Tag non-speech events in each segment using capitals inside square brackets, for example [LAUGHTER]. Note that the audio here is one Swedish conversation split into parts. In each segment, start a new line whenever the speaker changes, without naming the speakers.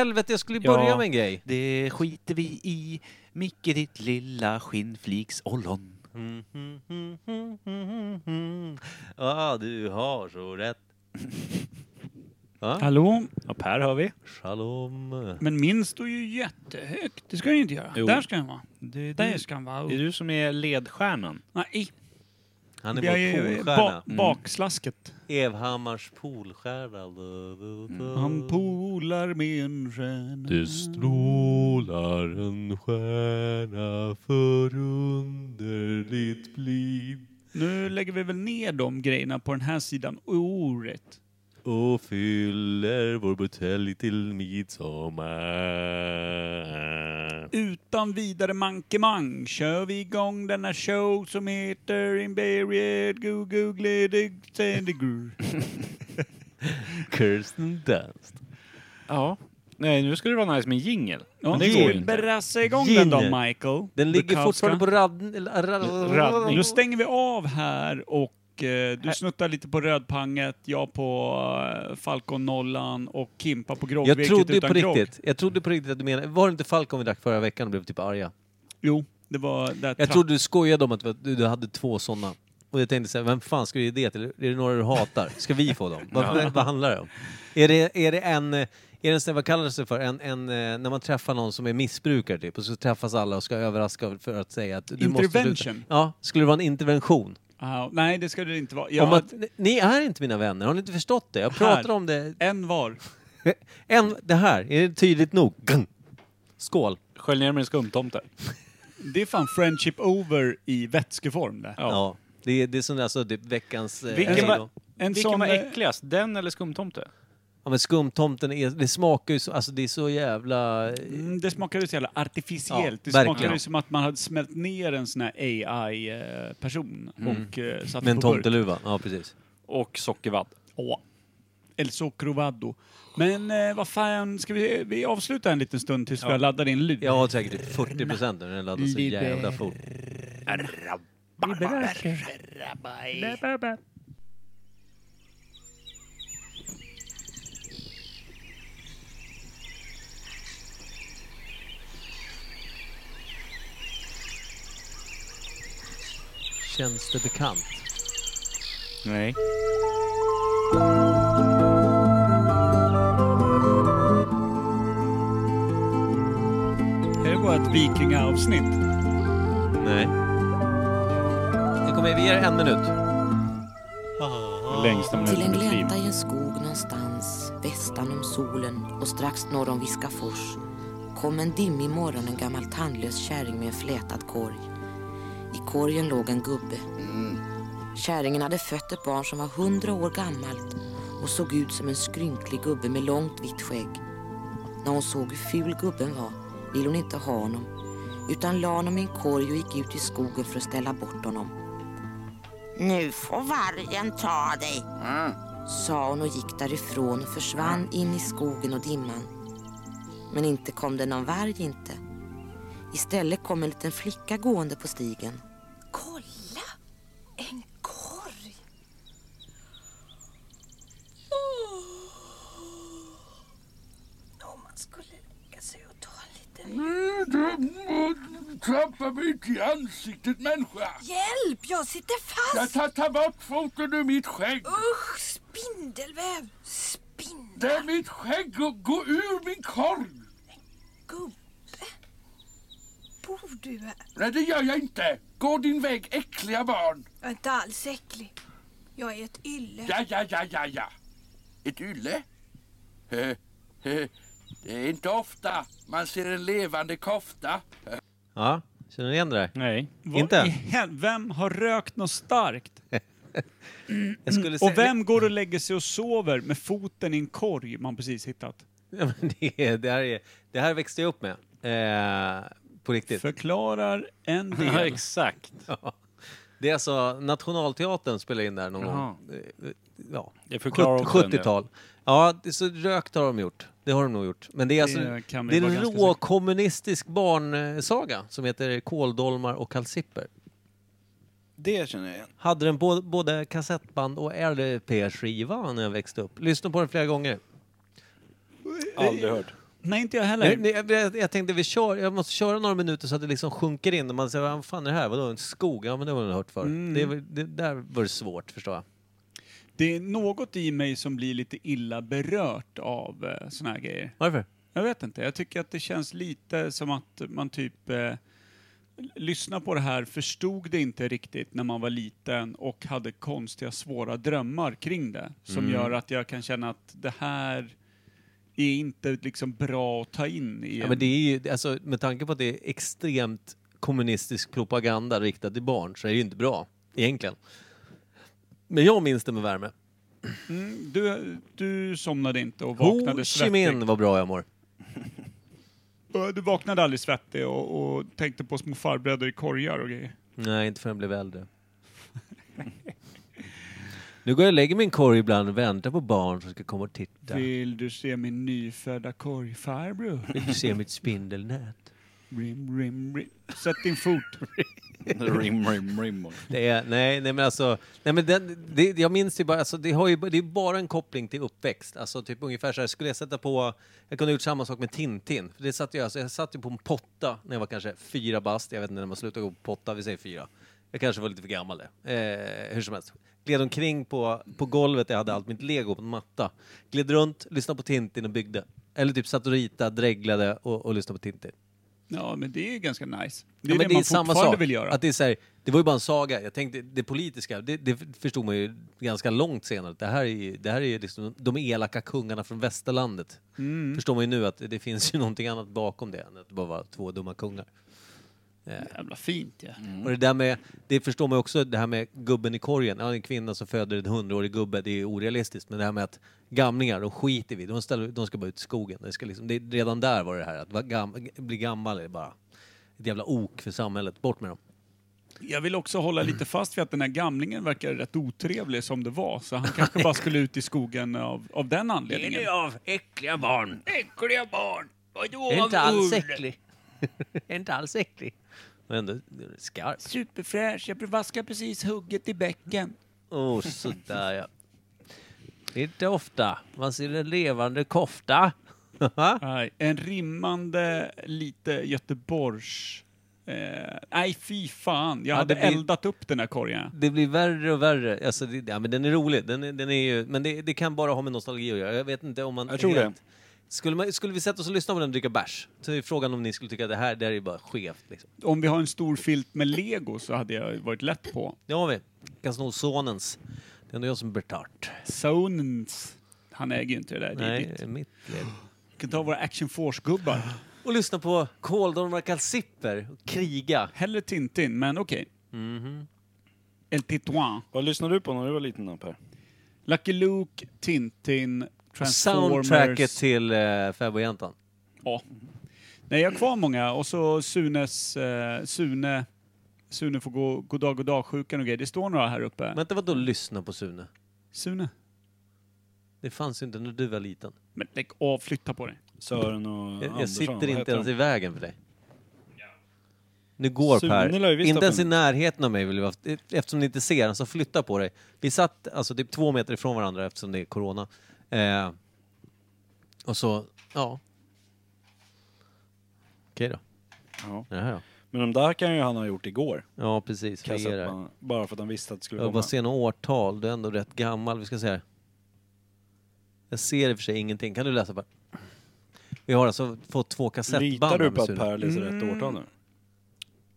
Helvete, jag skulle ju börja
Ja.
med en [LAUGHS] grej.
Det skiter vi i. Micke ditt lilla skinnfliksollon.
Mm, mm, mm, mm, mm, mm. Ah, du har så rätt. Va?
Hallå? Ja, per hör vi.
Shalom.
Men min står ju jättehögt. Det ska den ju inte göra.
Jo.
Där ska den vara.
Det är,
Där
du,
ska den vara.
det är du som är ledstjärnan.
Nej,
Han är
det är ju
vår polstjärna.
ba
Mm.
bakaslasket.
Evhammars polstjärna. Du, du, du.
Mm.
Han polar med en stjärna.
Det strålar en stjärna förunderligt blid.
Nu lägger vi väl ner de grejerna på den här sidan ordet.
och fyller vår butelj till midsommar.
Utan vidare mankemang kör vi igång denna show som heter Invaried Goo Goo Gledig Sandigur.
Kirsten Dunst.
Ja. Nej, nu skulle det vara nice med en jingel.
Ja,
Men det går ju inte.
Brassa igång
Gin.
den då Michael.
Den ligger
Bukowska.
fortfarande på radden. eller,
Raddning.
raddning.
Nu stänger vi av här och eh, du snuttar lite på rödpanget, jag på eh, Falcon nollan och Kimpa på grogg.
Jag
vilket
trodde ju på
utan grogg.
riktigt. Jag trodde på riktigt att du menade... Var det inte Falcon vi drack förra veckan och blev typ arga?
Jo, det var där
Jag trodde du skojade om att du du hade två sådana. Och jag tänkte såhär, vem fan ska du ge det till? Är det några du hatar? Ska vi få
[LAUGHS]
dem? Vad, vad handlar det om? Är det, är det en... eh, Är det en sån, vad kallas det för? En, en, eh, när man träffar någon som är missbrukare typ, och så träffas alla och ska överraska för att säga att du måste
Intervention.
sluta. Ja, skulle det vara en intervention?
Ah, nej, det ska det inte vara. Jag,
Om att, ni- ni är inte mina vänner, har ni inte förstått det? Jag
Här.
pratar om det...
En var.
En, det här, är det tydligt nog? Gung. Skål!
Skölj ner med en skumtomte.
Det är fan friendship over i vätskeform det.
Ja.
Ja.
Det, är- det är sån alltså, typ veckans... eh,
Vilken
hej
var-
då.
En
Vilken
sån,
var
eh,
äckligast? Den eller skumtomte?
Ja men skumtomten, är, det smakar ju så, alltså det är så jävla...
Mm, det smakade så jävla artificiellt.
Ja,
det smakade
verkligen.
ju som att man hade smält ner en sån här AI-person
Mm.
och eh, satt
Med en
på burk.
tomteluva, ja precis.
Och sockervadd.
Ja. El Socrovado. Men eh, vad fan, ska vi, vi avsluta en liten stund tills vi laddar in lyd?
Jag har säkert typ 40 procent nu när den laddar så
Liber-
jävla fort. Känns det bekant?
Nej.
Är det bara ett vikingaavsnitt?
Nej. Det kommer, vi ger en minut.
Längsta
Till
minuten i mitt
en
liv.
glänta i en skog någonstans, västan om solen och strax norr om Viskafors, kom en dimmig morgon en gammal tandlös kärring med en flätad korg. I korgen låg en gubbe. Kärringen hade fött ett barn som var hundra år gammalt och såg ut som en skrynklig gubbe med långt vitt skägg. När hon såg hur ful gubben var ville hon inte ha honom utan la honom i en korg och gick ut i skogen för att ställa bort honom. Nu får vargen ta dig, sa hon och gick därifrån och försvann in i skogen och dimman. Men inte kom det någon varg inte. Istället kom en liten flicka gående på stigen.
Kolla! En korg! Åh! Om man skulle lägga sig och ta en liten...
Trampa mig inte i ansiktet människa!
Hjälp! Jag sitter
Jag
fast!
tar, tar bort foten ur mitt skägg!
Usch! Spindelväv! Spindel...
Det är mitt skägg! Gå, gå ur min korg!
Gubbe? Bor du här?
Nej det gör jag inte! Gå din väg äckliga barn!
Jag är inte alls äcklig. Jag är ett ylle.
Ja, ja, ja, ja, ja! Ett ylle? Eh, eh, Det är inte ofta man ser en levande kofta.
Ja, känner ni igen det där?
Nej.
Vad
Inte?
i hel- Vem har rökt något starkt?
Jag skulle säga-
Mm. Och vem går och lägger sig och sover med foten i en korg man precis hittat?
[LAUGHS] Ja, men det, är- det, här är, det här växte jag upp med. Eh, på riktigt.
Förklarar en
Ja,
del.
exakt.
Ja. Det är alltså Nationalteatern spelar in där någon
Jaha.
gång. Eh, eh, Ja,
Det förklarar
sjut-
också en del.
70-tal. Ja, det, så rökt har de gjort. Det har de nog gjort. Men det är alltså
kan vi
det är
vara
en
ganska
rå kommunistisk barnsaga som heter Kåldolmar och kalsipper.
Det känner jag igen.
Hade den bå- både kassettband och LP-skiva när jag växte upp. Lyssnade på den flera gånger.
Aldrig hört.
Nej, inte jag heller.
Nej, nej, jag- jag, jag tänkte vi kör, jag måste köra några minuter så att det liksom sjunker in och man säger vad fan är det här? Vadå en skog? Ja men det har man hört förr. Det, var- det där var det svårt förstår jag.
Det är något i mig som blir lite illa berört av eh, såna här grejer.
Varför?
Jag vet inte, jag tycker att det känns lite som att man typ eh, lyssnar på det här, förstod det inte riktigt när man var liten och hade konstiga svåra drömmar kring det. Som
Mm.
gör att jag kan känna att det här är inte liksom bra att ta in i
Ja,
en-
men det är ju, alltså, med tanke på att det är extremt kommunistisk propaganda riktad till barn så är det ju inte bra egentligen. Men jag minns det med värme.
Mm, du, du somnade inte och
Ho
vaknade
Chi
svettig.
Minh vad bra jag mår.
Ja, Du vaknade aldrig svettig och, och tänkte på små farbröder i korgar och grejer.
Nej, inte förrän jag blev äldre. nu går jag och lägger min korg ibland och väntar på barn som ska komma och titta.
Vill du se min nyfödda korgfarbror?
Vill du se mitt spindelnät?
Rim, rim, rim. Sätt
[LAUGHS]
din fot.
rim, rim, rim.
Det är, nej, nej men alltså, nej, men den, det, jag minns ju bara, alltså, det, har ju, det är bara en koppling till uppväxt. Alltså typ ungefär så här, skulle jag sätta på, jag kunde ha gjort samma sak med Tintin. För det satt jag, alltså, jag satt ju på en potta när jag var kanske fyra bast, jag vet inte när man slutade gå på potta, vi säger fyra. Jag kanske var lite för gammal det. Eh, hur som helst. Gled omkring på, på golvet där jag hade allt mitt lego på en matta. Gled runt, lyssnade på Tintin och byggde. Eller typ satt och ritade, dreglade och, och lyssnade på Tintin.
Ja, men det är ju ganska nice. Det är
Ja,
det,
men
man fortfarande vill göra.
Att det, är så här, det var ju bara en saga. Jag tänkte, det politiska, det, det förstod man ju ganska långt senare. Det här är ju, det här är ju liksom de elaka kungarna från västerlandet.
Mm.
Förstår man ju nu att det finns ju [LAUGHS] någonting annat bakom det än att det bara var två dumma kungar.
Jävla fint ja.
Och det där med, det förstår man ju också, det här med gubben i korgen. Ja, en kvinna som föder en hundraårig gubbe, det är ju orealistiskt. Men det här med att gamlingar, de skiter vi i. de, ställer, de ska bara ut i skogen. Det ska liksom, det, redan där var det här, att vara gam, bli gammal är bara ett jävla ok för samhället. Bort med dem.
Jag vill också hålla
Mm.
lite fast vid att den här gamlingen verkar rätt otrevlig som det var. Så han kanske bara skulle ut i skogen av, av den anledningen.
av äckliga barn.
Äckliga barn! Vadå
äcklig. [LAUGHS] inte alls äcklig. Men ändå skarp.
Superfräsch, jag vaskar precis hugget i bäcken.
Oh, sådär ja. Det är inte ofta man ser en levande kofta.
Nej, en rimmande lite Göteborgs... Eh, nej, fy fan. Jag
Ja,
hade
det blir-
eldat upp den här korgen.
[LAUGHS] det blir värre och värre. Alltså, det, ja, men den är rolig. Den är, den är ju, men det, det kan bara ha med nostalgi att göra. Jag vet inte om man...
Jag tror det.
Skulle, man, skulle vi sätta oss och lyssna på den och dricka bärs? Så är frågan om ni skulle tycka att det här, det här är ju bara skevt. Liksom.
Om vi har en stor filt med lego så hade jag varit lätt på.
Det har vi. Kan sno sonens. Det är ändå jag som är Bertart.
Sonens. Han äger ju inte det där. Det är
Nej,
ditt.
det är mitt led.
Vi kan ta våra Action Force-gubbar.
och lyssna på Kåldolmar och Kalsipper och kriga.
Hellre Tintin, men okej.
Mhm.
El Titoin.
Vad lyssnade du på när du var liten då Per?
Lucky Luke, Tintin, Transformers.
Soundtracket till eh, Fäbodjäntan.
Ja. Nej, jag har kvar många. Och så Sunes... Eh, Sune... Sune får gå goddag goddag-sjukan och grejer. Det står några här uppe.
Men inte vadå lyssna på Sune?
Sune?
Det fanns ju inte när du var liten.
Men lägg av, flytta på dig.
Sören och
Jag, jag
Andersson, vad
sitter inte
heter
ens
de?
i vägen för dig. Nu går
Sune lär
Per.
ju visst ha
Inte ens i närheten av mig vill vi ha, eftersom ni inte ser den, så flytta på dig. Vi satt alltså typ två meter ifrån varandra eftersom det är corona. Eh, och så, ja. Okej då.
Ja.
Jaha, ja.
Men de där kan ju han ha gjort igår.
ja, precis. Vad är det?
Kassettbanden. Bara för att han visste att det skulle
Jag vill bara
komma.
se några årtal. Du är ändå rätt gammal. Vi ska se här. Jag ser i och för sig ingenting. Kan du läsa Per? Vi har alltså fått två kassettband.
Litar
här
du
med
på att
Sune.
Per läser rätt årtal nu?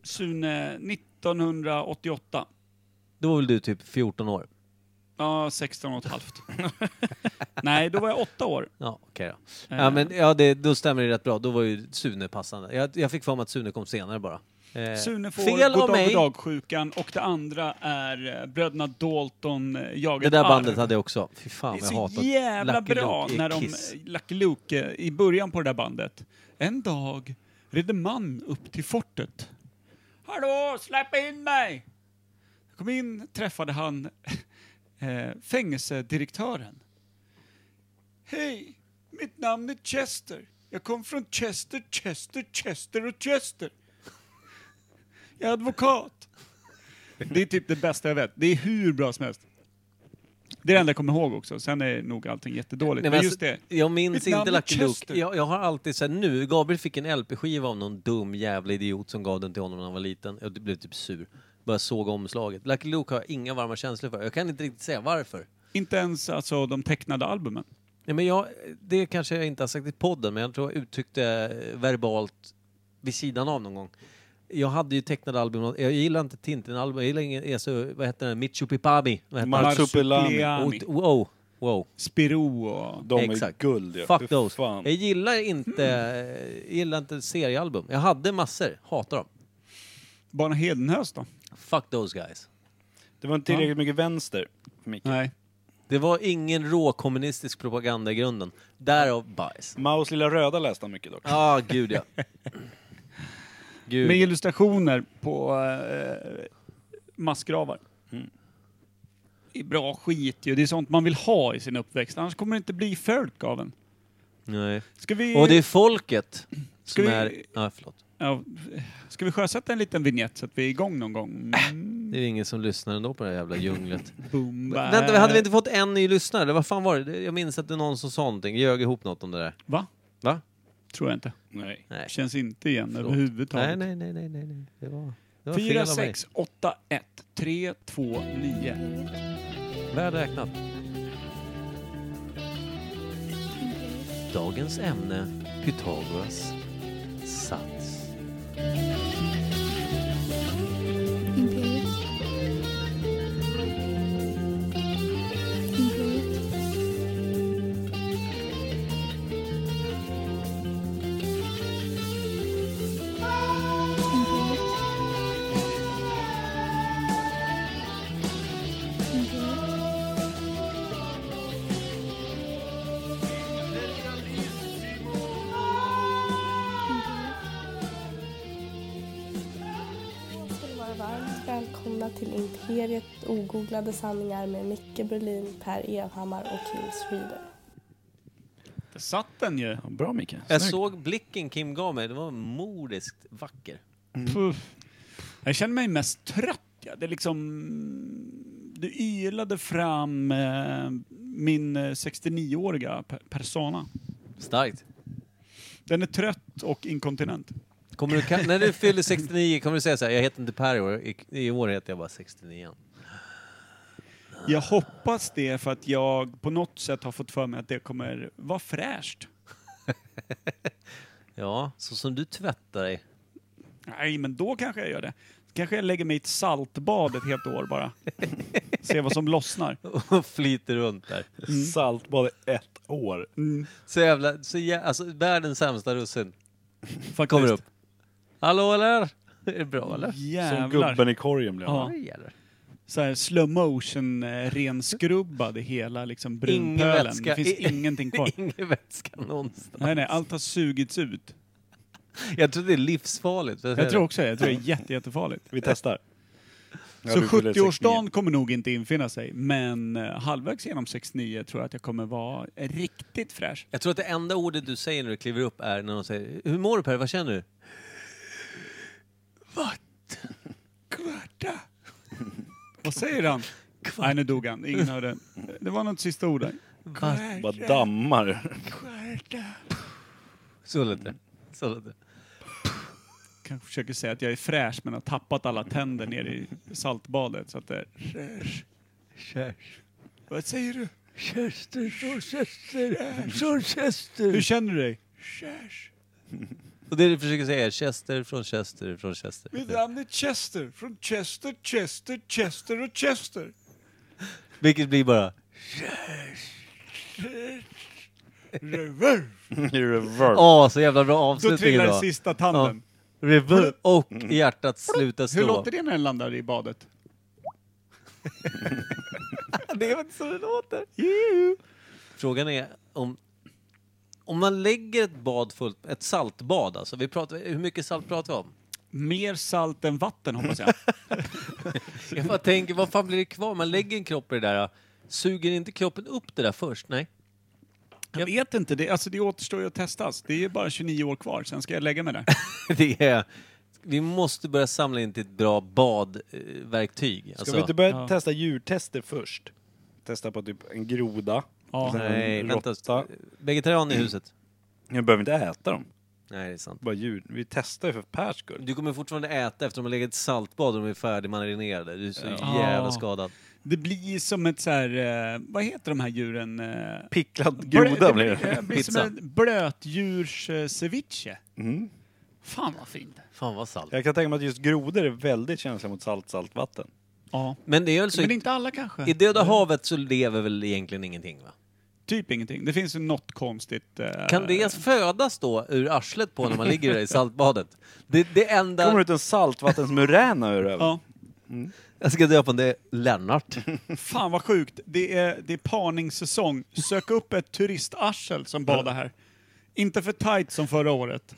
Sune, 1988.
Då var väl du typ 14 år?
Ja, 16 och
[LAUGHS]
ett halvt. Nej, då var jag åtta år.
Ja, okej då.
Eh.
Ja, men ja, det, då stämmer det rätt bra. Då var ju Sune passande. Jag, jag fick för mig att Sune kom senare bara. Eh,
Sune får
fel av
goddag
mig.
goddag-sjukan och det andra är eh, bröderna Dalton eh, jagar
Det där
arv.
bandet hade jag också. Fy fan
Det
vad jag
är så
hatar
jävla
Lucky
bra
Luke i
när de,
Kiss.
Lucky Luke, eh, i början på det där bandet. En dag red en man upp till fortet. Hallå, släpp in mig! Jag kom in, träffade han [LAUGHS] eh, fängelsedirektören. Hej, mitt namn är Chester. Jag kom från Chester, Chester, Chester och Chester. Jag är advokat. Det är typ det bästa jag vet. Det är hur bra som helst. Det är det enda jag kommer ihåg också. Sen är nog allting jättedåligt.
Nej,
men
men
just det.
alltså, Jag minns
Mitt namn
inte Lucky
är Chester.
Luke. Jag, jag har alltid så här, nu, Gabriel fick en LP-skiva av någon dum jävla idiot som gav den till honom när han var liten. Jag blev typ sur. Började såga omslaget. Lucky Luke har jag inga varma känslor för. Jag kan inte riktigt säga varför.
Inte ens alltså, de tecknade albumen.
Nej, men jag, det kanske jag inte har sagt i podden, men jag tror jag uttryckte eh, verbalt vid sidan av någon gång. Jag hade ju tecknade album, jag gillar inte Tintin-album, jag gillar ingen, alltså, vad heter den, Michupipabi? Vad heter den?
Marsupiami.
Oh, wow, wow.
Spiro och...
De
Exakt.
är guld ju. Fy
Fuck those.
Fan.
Jag gillar inte, jag gillar inte seriealbum. Jag hade massor, hatar dem.
Barn Hedenhös då?
Fuck those guys.
Det var inte tillräckligt mycket vänster, Micke.
Nej.
Det var ingen råkommunistisk propaganda i grunden. Därav bajs.
Maos lilla röda läste han mycket dock.
Ah, gud ja. gud.
Med illustrationer på eh, massgravar.
Mm.
Det är bra skit ju. Det är sånt man vill ha i sin uppväxt. Annars kommer det inte bli följt av en.
Nej.
Ska vi,
Och det är folket
Ska
som
vi-
är... Ja, förlåt.
ja, ska vi sjösätta en liten vignett så att vi är igång någon gång? Mm,
Det är ju ingen som lyssnar ändå på det här jävla djunglet.
Boom, bä.
Vänta, vi hade vi inte fått en ny lyssnare? Vad fan var det? Det- Jag minns att det var någon som sa någonting. Ljög ihop något om det där.
Va?
Va?
Tror jag inte.
Nej.
Nej.
Känns inte igen
Förlåt.
överhuvudtaget.
Nej, nej, nej, nej, nej, nej. Det var... Det var fel
Fyra,
av mig.
sex, åtta, ett, tre, två, nio.
Väl räknat. Dagens ämne, Pythagoras sats.
Imperiet. Imperiet. Imperiet. Imperiet.
ska ni vara varmt välkomna till Imperiet ogooglade sanningar med Micke Berlin, Per Evhammar och Kim Schreeder.
Där satt den ju.
Ja, bra Micke.
Jag såg blicken Kim gav mig, den var modiskt vacker.
Puff. Jag känner mig mest trött. Ja. Det är liksom... Du ylade fram eh, min eh, 69-åriga pe- persona.
Starkt.
Den är trött och inkontinent.
Kommer du, ka- när du fyller 69 kommer du säga så här, jag heter inte Per i år, i, i år heter jag bara 69.
Jag hoppas det för att jag på något sätt har fått för mig att det kommer vara fräscht.
Ja, så som du tvättar dig. [LAUGHS]
Nej, men då kanske jag gör det. Kanske jag lägger mig i ett saltbad ett helt år bara. Se vad som lossnar.
Och flyter runt där.
Saltbad i ett år.
Så jävla, så jä- alltså världens sämsta russin.
Faktiskt.
Kommer upp. Hallå eller? [LAUGHS] Är det bra eller?
Som
Jävlar.
gubben i korgen blev han.
Ja. så här slow motion eh, renskrubbad i hela liksom
Ingen
brunpölen.
vätska.
Det finns
i-
ingenting kvar.
[LAUGHS] Ingen vätska någonstans.
Nej, nej, allt har sugits ut.
Jag tror det är livsfarligt.
Jag tror också det. Jag tror det är jätte, jättefarligt.
Vi testar. Ja,
Så
du fyller
70-årsdagen kommer nog inte infinna sig, men eh, halvvägs genom 69 tror jag att jag kommer vara riktigt fräsch.
Jag tror att det enda ordet du säger när du kliver upp är när någon säger Hur mår du Per? Vad känner du?
Kvarta! Vad säger han? Nej, nu dog han. Ingen hörde. Det var något sista ord där.
Va?
69. Bara dammar. [LAUGHS]
Så lät det. Så lät det.
Kanske försöker säga att jag är fräsch, men har tappat alla tänder ner i saltbadet. Så att det... Fräsch. Vad säger du?
Chester, Chester, Chester.
Hur känner du dig? Fräsch.
Och det du försöker säga är Chester från Chester från Chester.
Mitt namn är Chester, från Chester, Chester, Chester och Chester.
Vilket blir bara
Reverb.
I reverb.
Åh, så jävla bra
Då
avslutning
trillar
idag.
sista tanden.
Reverb och hjärtat slutar slå.
Hur låter det när den landar i badet?
[LAUGHS] Det är inte så det låter. Frågan är om... Om man lägger ett bad fullt, ett saltbad alltså, vi pratar, hur mycket salt pratar vi om? [LAUGHS]
Mer salt än vatten hoppas jag.
Jag bara tänker, vad fan blir det kvar? Man lägger en kropp i det där, ja. suger inte kroppen upp det där först? Nej. [LAUGHS]
Jag vet inte, det, alltså det återstår ju att testas. Det är ju bara 29 år kvar, sen ska jag lägga mig där.
Det är, vi måste börja samla in till ett bra badverktyg. Alltså-
Ska vi inte börja testa djurtester först? testa på typ en groda.
Ja.
och sen en
Nej, vänta.
råtta.
Vegetarian [CLEARS THROAT] i huset.
Jag behöver inte äta dem.
Nej, det är sant.
Bara djur. Vi testar ju för pers skull.
Du kommer fortfarande äta efter de har legat i ett saltbad och de är färdigmarinerade. Du är så
Ja.
jävla
Ah.
skadad.
Det blir som ett så här, eh, vad heter de här djuren? eh,
Picklad
blö-
groda blir
blir-
det.
det blir som
Pizza.
en blötdjurs eh, ceviche.
Mm.
Fan vad fint.
Fan vad salt.
Jag kan tänka mig att just grodor är väldigt känsliga mot salt, saltvatten.
Ja.
Men det är alltså- väl så...
Men inte alla kanske?
I Döda havet så lever väl egentligen ingenting va?
Typ ingenting. Det finns ju något konstigt. eh,
Kan det födas då ur arslet på när man ligger där i [LAUGHS] saltbadet? Det, det
Det kommer
enda...
ut en [LAUGHS] saltvattensmuräna ur öven.
Ja.
Jag ska döpa om det är Lennart.
Fan vad sjukt. Det är, det är parningssäsong. Sök upp ett turistarsel som badar här. Inte för tight som förra året.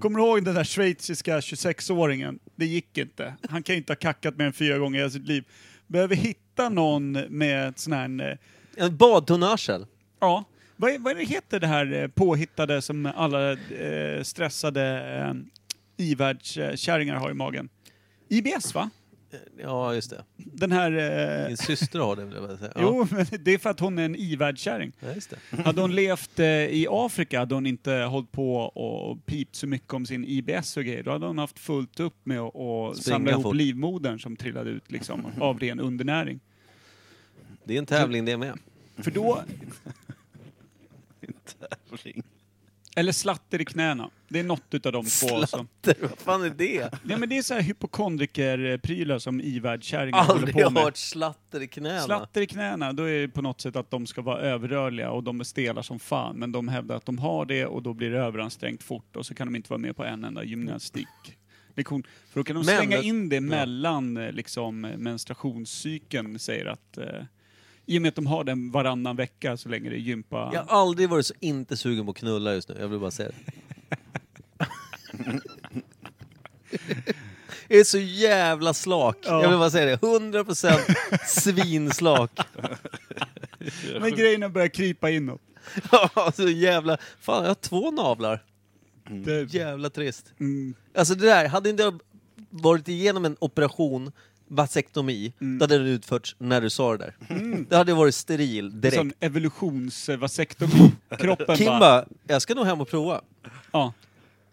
Kommer du ihåg den där schweiziska 26-åringen? Det gick inte. Han kan ju inte ha kackat mer än fyra gånger i hela sitt liv. Behöver hitta någon med ett sån här...
[LAUGHS]
eh,
En badtonnarsel.
Ja. Vad, är- vad är det heter det här eh, påhittade som alla eh, stressade eh, ivärldskärringar har i magen? IBS va?
Ja, just det.
Den här... Eh,
Min syster har det vill jag bara säga. Ja.
Jo, [LAUGHS] men det är för att hon är en ivärldskärring.
Ja, just det.
Hade hon levt eh, i Afrika hade hon inte hållit på och pipt så mycket om sin IBS och grejer. Då hade hon haft fullt upp med att och
Springa
samla ihop
fort.
livmodern som trillade ut liksom, av ren undernäring.
Det är en tävling det med.
För då... Eller slatter i knäna. Det är något utav de två. Som,
Vad fan är det?
ja, men det är så här hypokondriker-prylar som ivärldskärringar håller
Aldrig
på med.
hört slatter i knäna.
Slatter i knäna, då är det på något sätt att de ska vara överrörliga och de är stela som fan. Men de hävdar att de har det och då blir det överansträngt fort och så kan de inte vara med på en enda gymnastiklektion. För då kan de
Men-
slänga in det mellan eh, liksom, eh, menstruationscykeln, säger att eh, i och med att de har den varannan vecka så länge det är gympa...
Jag har aldrig varit så inte sugen på att knulla just nu. Jag vill bara säga det. Jag är så jävla slak. Jag vill bara säga det. 100% svinslak.
Men grejerna börjar krypa inåt.
[LAUGHS] Ja, så jävla... Fan, jag har två navlar.
Det,
Jävla trist.
mm,
Alltså det där, hade inte jag varit igenom en operation, vasektomi, då hade den utförts när du sa det där. Det hade varit steril direkt.
sån
[LAUGHS]
evolutionsvasektomi. Kroppen
Kim
bara...
bara, jag ska nog hem och prova.
Ja.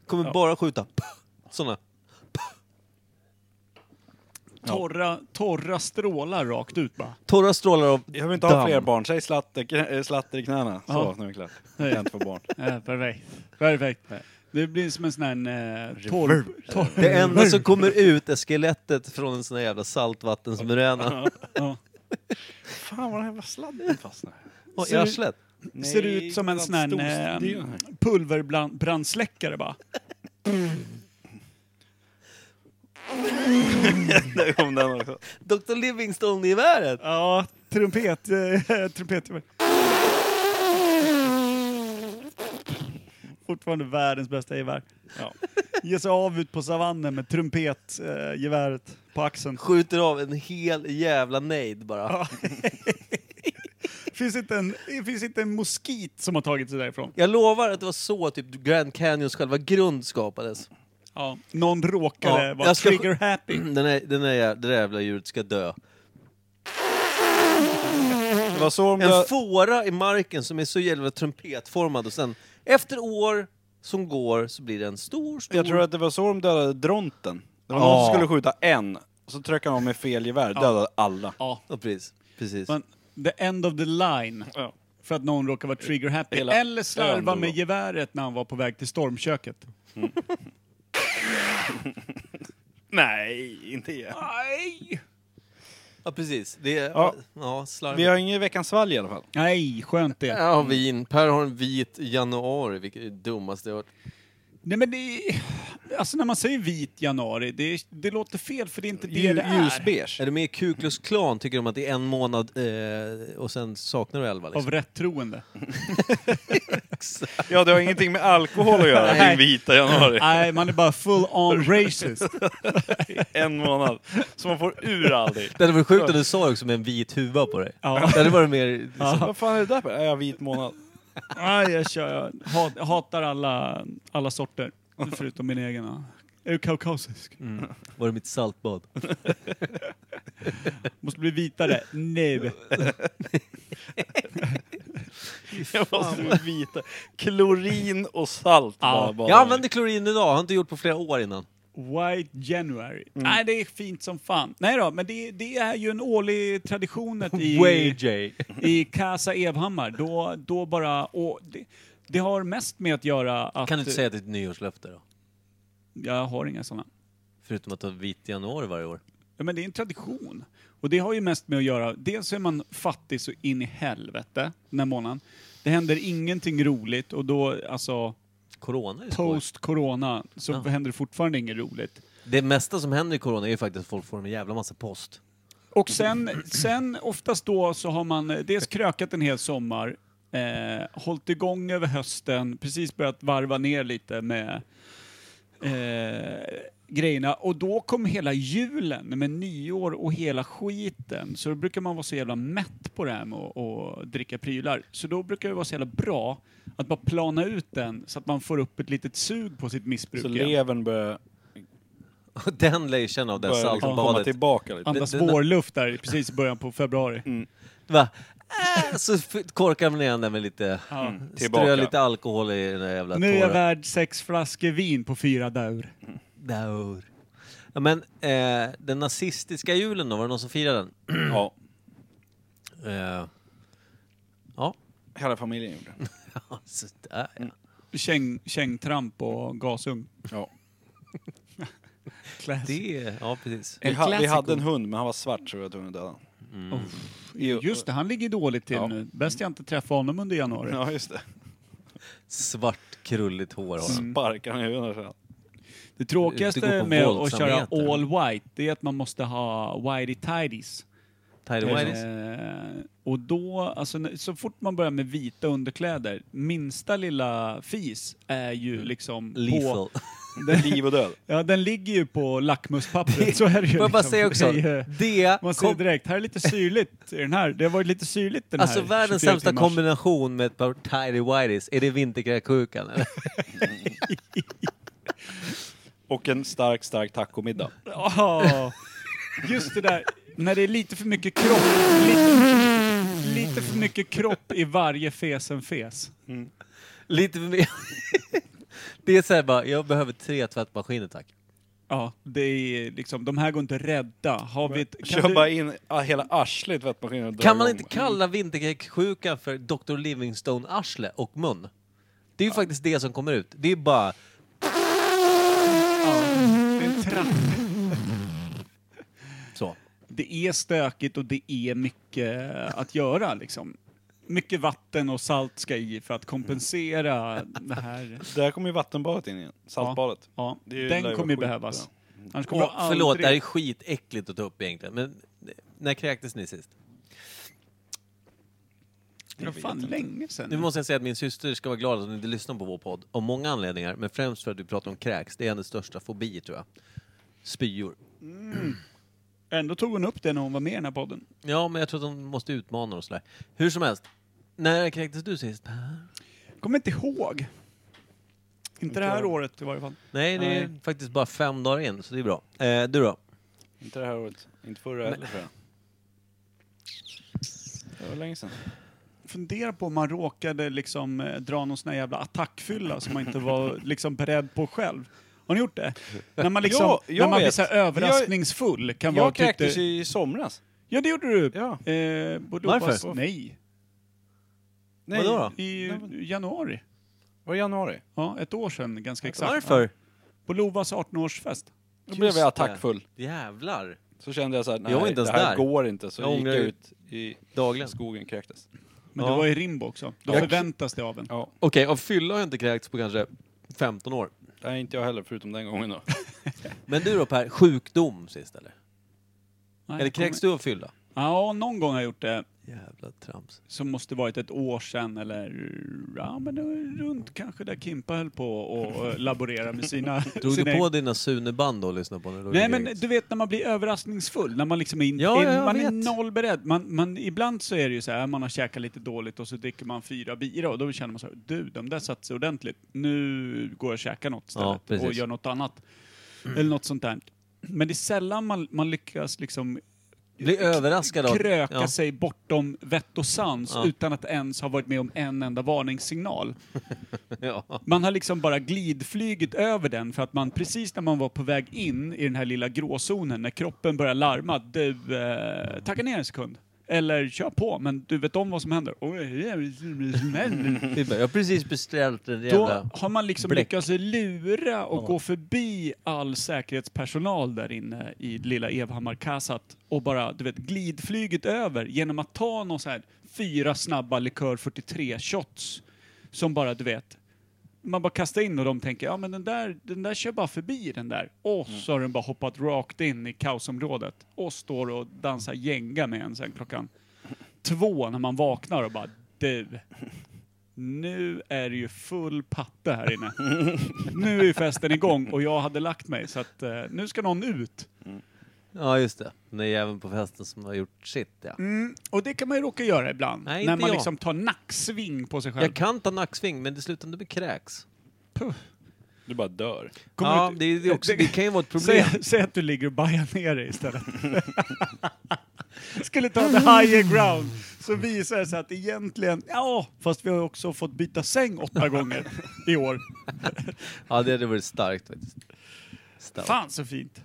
Kommer bara skjuta sådana.
Torra, torra strålar rakt
[LAUGHS]
ut bara.
Torra strålar av
Jag vill inte
damm.
ha fler barn. Säg slatter, eh, slatter i knäna. Så,
Ja.
nu är det [LAUGHS] klart. Jag kan inte få barn.
Ja,
Eh,
perfekt. Perfekt. Det blir som en sån här eh, torv... torv-
Det enda
Mm.
som kommer ut är skelettet från en sån här jävla saltvattensmuräna.
ja.
Fan vad den här jävla sladden fastnar.
Och i arslet.
Ser ut som en sån här eh, pulverbrandsläckare bara.
Där [LAUGHS] kom den också.
Dr Livingstone-geväret!
Ja, trumpet... Eh, [LAUGHS] trumpet Fortfarande världens bästa gevär.
Ja.
Ge sig av ut på savannen med trumpetgeväret eh, geväret på axeln. [LAUGHS]
Skjuter av en hel jävla nejd bara.
Finns inte en, finns inte en moskit som har tagit sig därifrån.
Jag lovar att det var så typ Grand Canyons själva grund skapades. [CLEARS THROAT]
Ja. Någon råkade
Ja,
vara
jag ska-
trigger happy.
Den här, den här, jä- det där jävla djuret ska dö.
Det var så de
En
dö-
fåra i marken som är så jävla trumpetformad och sen efter år som går så blir det en stor, stor...
Jag tror att det var så de dödade Dronten. Det var någon som skulle skjuta en, och så tryckte han av med fel gevär, dödade alla.
Ja.
Ja, precis. precis.
Men the end of the line.
Ja.
För att någon råkar vara trigger happy.
Hela
Eller
ön
slarva
dog
med
av.
geväret när han var på väg till stormköket.
Nej, inte igen.
Nej!
Ja, precis. Det är... Ja,
Ja. Vi
slarvigt.
har ingen Veckans svalg i alla fall.
Nej, skönt det.
Ja, vin. Per har en vit januari, vilket är det dummaste jag hört.
Nej men det är... Alltså när man säger vit januari, det, det låter fel för det är inte det
Ljus-
det är.
Ljusbeige.
Är du med i Ku Klux Klan tycker de att det är en månad eh, och sen saknar du elva liksom.
Av rättroende.
Ja, det har ingenting med alkohol att göra,
Nej.
din vita januari.
Nej, man är bara full on racist.
En månad. Så man får ur aldrig.
Det hade varit sjukt om du sa det också med en vit huva på dig.
Ja.
Det hade varit [LAUGHS] mer...
Vad fan är det där för? Ja, vit månad.
Nej, jag, kör, jag hat, hatar alla, alla sorter. Förutom min egen. ja. Är du kaukasisk?
Var det mitt saltbad?
Måste bli vitare nu.
Jag måste vita. Klorin och salt var bara.
Jag använder klorin idag, har inte gjort på flera år innan.
White January. Nej, det är fint som fan. Nej då, men det, det är ju en årlig tradition att i...
J.
i Casa Evhammar, då, då bara... Och det, det har mest med att göra att...
Kan du inte säga att det är ett nyårslöfte då?
Jag har inga sådana.
Förutom att ha vit januari varje år.
Ja, men det är en tradition. Och det har ju mest med att göra... Dels så är man fattig så in i helvete den här månaden. Det händer ingenting roligt och då, alltså,
Corona är ju skoj.
post-corona, så
Ja.
händer det fortfarande inget roligt.
Det mesta som händer i corona är ju faktiskt att folk får en jävla massa post. [LAUGHS]
Och sen, sen oftast då så har man eh, dels krökat en hel sommar, eh, hållit igång över hösten, precis börjat varva ner lite med eh, grejerna. Och då kom hela julen med nyår och hela skiten. Så då brukar man vara så jävla mätt på det här med att att dricka prylar. Så då brukar det vara så jävla bra att bara plana ut den så att man får upp ett litet sug på sitt missbruk
Så
igen.
levern börjar,
Och Den lär ju känna av det
börjar liksom komma
saltbadet.
tillbaka lite.
Andas
det- det-
vårluft där precis i början på februari.
Va? Äh, så f- korkar man igen den med lite...
Ja.
Strö
Tillbaka.
lite alkohol i den där jävla
Nu är jag
torra...
värd sex flaskor vin på fyra dagar.
Daur. Ja, men eh, den nazistiska julen då, var det någon som firade den?
Ja,
Eh, ja. [LAUGHS]
hela familjen gjorde det.
Så där, ja.
Käng, kängtramp och gasugn.
Ja.
Det, ja precis.
Vi, ha, vi hade en hund men han var svart så vi var tvungna att döda honom.
Mm.
Jo.
Just det, han ligger dåligt till
Ja.
nu. Bäst jag inte träffar honom under januari.
Ja just det.
Svart krulligt hår har han.
Sparkade han i huvudet sen.
Det
Det går
tråkigaste
på
med att köra
våldsamheter.
all white, det är att man måste ha whitey tidies.
Tidy whities.
Eh, och då, alltså när- så fort man börjar med vita underkläder, minsta lilla fis är ju liksom på...
Mm. Lethal.
Liv och död.
Ja, den ligger ju på lackmuspappret, så är det ju.
Får jag bara
liksom.
säga också,
Det är ju-
det...
Man ser
kom-
direkt, här är lite syrligt i den här. Det har varit lite syrligt den
Alltså
här.
världens
24
sämsta
timmars.
kombination med ett par tidy whities, är det vinterkräksjukan eller?
Och en stark, stark
[LAUGHS]
tacomiddag.
Ja, just det där när det är lite för mycket kropp. Lite, lite för mycket kropp i varje fes en fes.
Lite för mycket. [LAUGHS] Det är såhär bara, jag behöver tre tvättmaskiner tack.
Ja, det är liksom, de här går inte att rädda. Har vi ett,
Kör bara in ah, hela arslet i tvättmaskinen och drar
Kan man
igång
inte kalla vinterkräksjukan för Dr. Livingstone-arsle och mun? Det är ju faktiskt det som kommer ut. Det är bara...
det är en trapp.
Så.
Det är stökigt och det är mycket att göra liksom. Mycket vatten och salt ska i för att kompensera det här.
Där kommer ju vattenbadet in igen. Saltbadet.
Ja,
Det är ju
den
lär
kommer ju
vara skit,
behövas.
ja.
Annars kommer
Och,
det aldrig...
förlåt, det här är skitäckligt att ta upp egentligen. Men när kräktes ni sist?
Det var fan länge sedan.
Nu måste jag säga att min syster ska vara glad att hon inte lyssnar på vår podd. Av många anledningar, men främst för att vi pratar om kräks. Det är hennes största fobi tror jag. Spyor.
Ändå tog hon upp det när hon var med i den här podden.
Ja, men jag tror att de måste utmana och sådär. Hur som helst. När kräktes du sist?
Kommer inte ihåg. Inte det här året i varje fall.
Nej, det är faktiskt bara fem dagar in, så det är bra. Eh, du då?
Inte det här året. Inte förra heller tror jag. Det var länge sedan.
Fundera på om man råkade liksom eh, dra någon sån här jävla attackfylla
[LAUGHS]
som man inte var liksom beredd på själv. Har ni gjort det? När man liksom,
Ja, jag
när man blir
vet.
så här överraskningsfull kan vara
Jag
och tyckte...
kräktes i somras.
Ja, det gjorde du.
Ja.
Eh, borde
Varför?
hoppas- Nej.
Nej,
Vadå då?
I januari.
Var det januari?
Ja, ett år sedan ganska exakt.
Varför?
På Lovas 18-årsfest.
Då blev
det.
jag attackfull.
Jävlar.
Så kände jag så här, nej
Jag var inte
det
ens
här
där.
går inte. Så
Jag
jag gick
ångrar
jag
ju.
ut i
Dagligen.
skogen kräktes.
Men
Ja.
du var i Rimbo också. Då
Jag-
förväntas det av en.
Ja,
Okej, av fylla har jag inte kräkts på kanske 15 år.
nej inte jag heller förutom den gången då.
Men du då Per, sjukdom sist eller?
Nej,
eller
jag kommer-
kräks du av fylla?
Ja, någon gång har jag gjort det.
Jävla trams.
Som måste varit ett år sedan eller ja, men det var runt kanske där Kimpa höll på och eh, laborera med sina...
[LAUGHS] Drog
sina
du på dina Suneband då och lyssnade på när du låg i
Nej men
kräks?
du vet när man blir överraskningsfull, när man liksom är, in,
Ja, ja, jag
man är
vet.
noll beredd. Man, man, ibland så är det ju så här, man har käkat lite dåligt och så dricker man fyra bira och då känner man så här, du de där satte sig ordentligt. Nu går jag och käkar något
Ja,
istället
precis.
och gör något annat. Eller något sånt där. Men det är sällan man, man lyckas liksom
Bli överraskad av...
kröka
ja.
sig bortom vett och sans
Ja.
utan att ens ha varit med om en enda varningssignal.
Ja.
Man har liksom bara glidflygit över den för att man precis när man var på väg in i den här lilla gråzonen när kroppen börjar larma, du, eh, tacka ner en sekund. Eller kör på, men du vet om vad som händer. Oj, jävlar, vad som händer.
Det är bara, Jag har precis beställt en jävla...
Då har man liksom
bläck.
lyckats lura och gå förbi all säkerhetspersonal där inne i lilla Evhammar-kassat och bara, du vet, glidflygit över genom att ta någon så här fyra snabba likör 43 shots som bara, du vet, man bara kastar in och de tänker, ja men den där, den där kör bara förbi den där. Och
Mm.
så har den bara hoppat rakt in i kaosområdet och står och dansar gänga med en sen klockan två när man vaknar och bara, du. Nu är det ju full patte här inne. nu är ju festen igång och jag hade lagt mig så att eh, nu ska någon ut.
Ja, just det. Den där jäveln på festen som har gjort sitt, ja.
Mm, och det kan man ju råka göra ibland.
Nej,
när
inte
man
jag.
liksom tar nacksving på sig själv.
Jag kan ta nacksving, men det slutar inte med kräks.
Du bara dör.
Kommer
ja,
ut-
det, är- det, är också,
[LAUGHS] det-
det kan ju vara ett problem.
Säg, säg att du ligger och bajar ner
[LAUGHS]
dig istället. Skulle ta the higher ground. Så visar det sig att egentligen, ja, fast vi har ju också fått byta säng åtta gånger i år.
Ja, det hade varit starkt faktiskt. Starkt.
Fan så fint.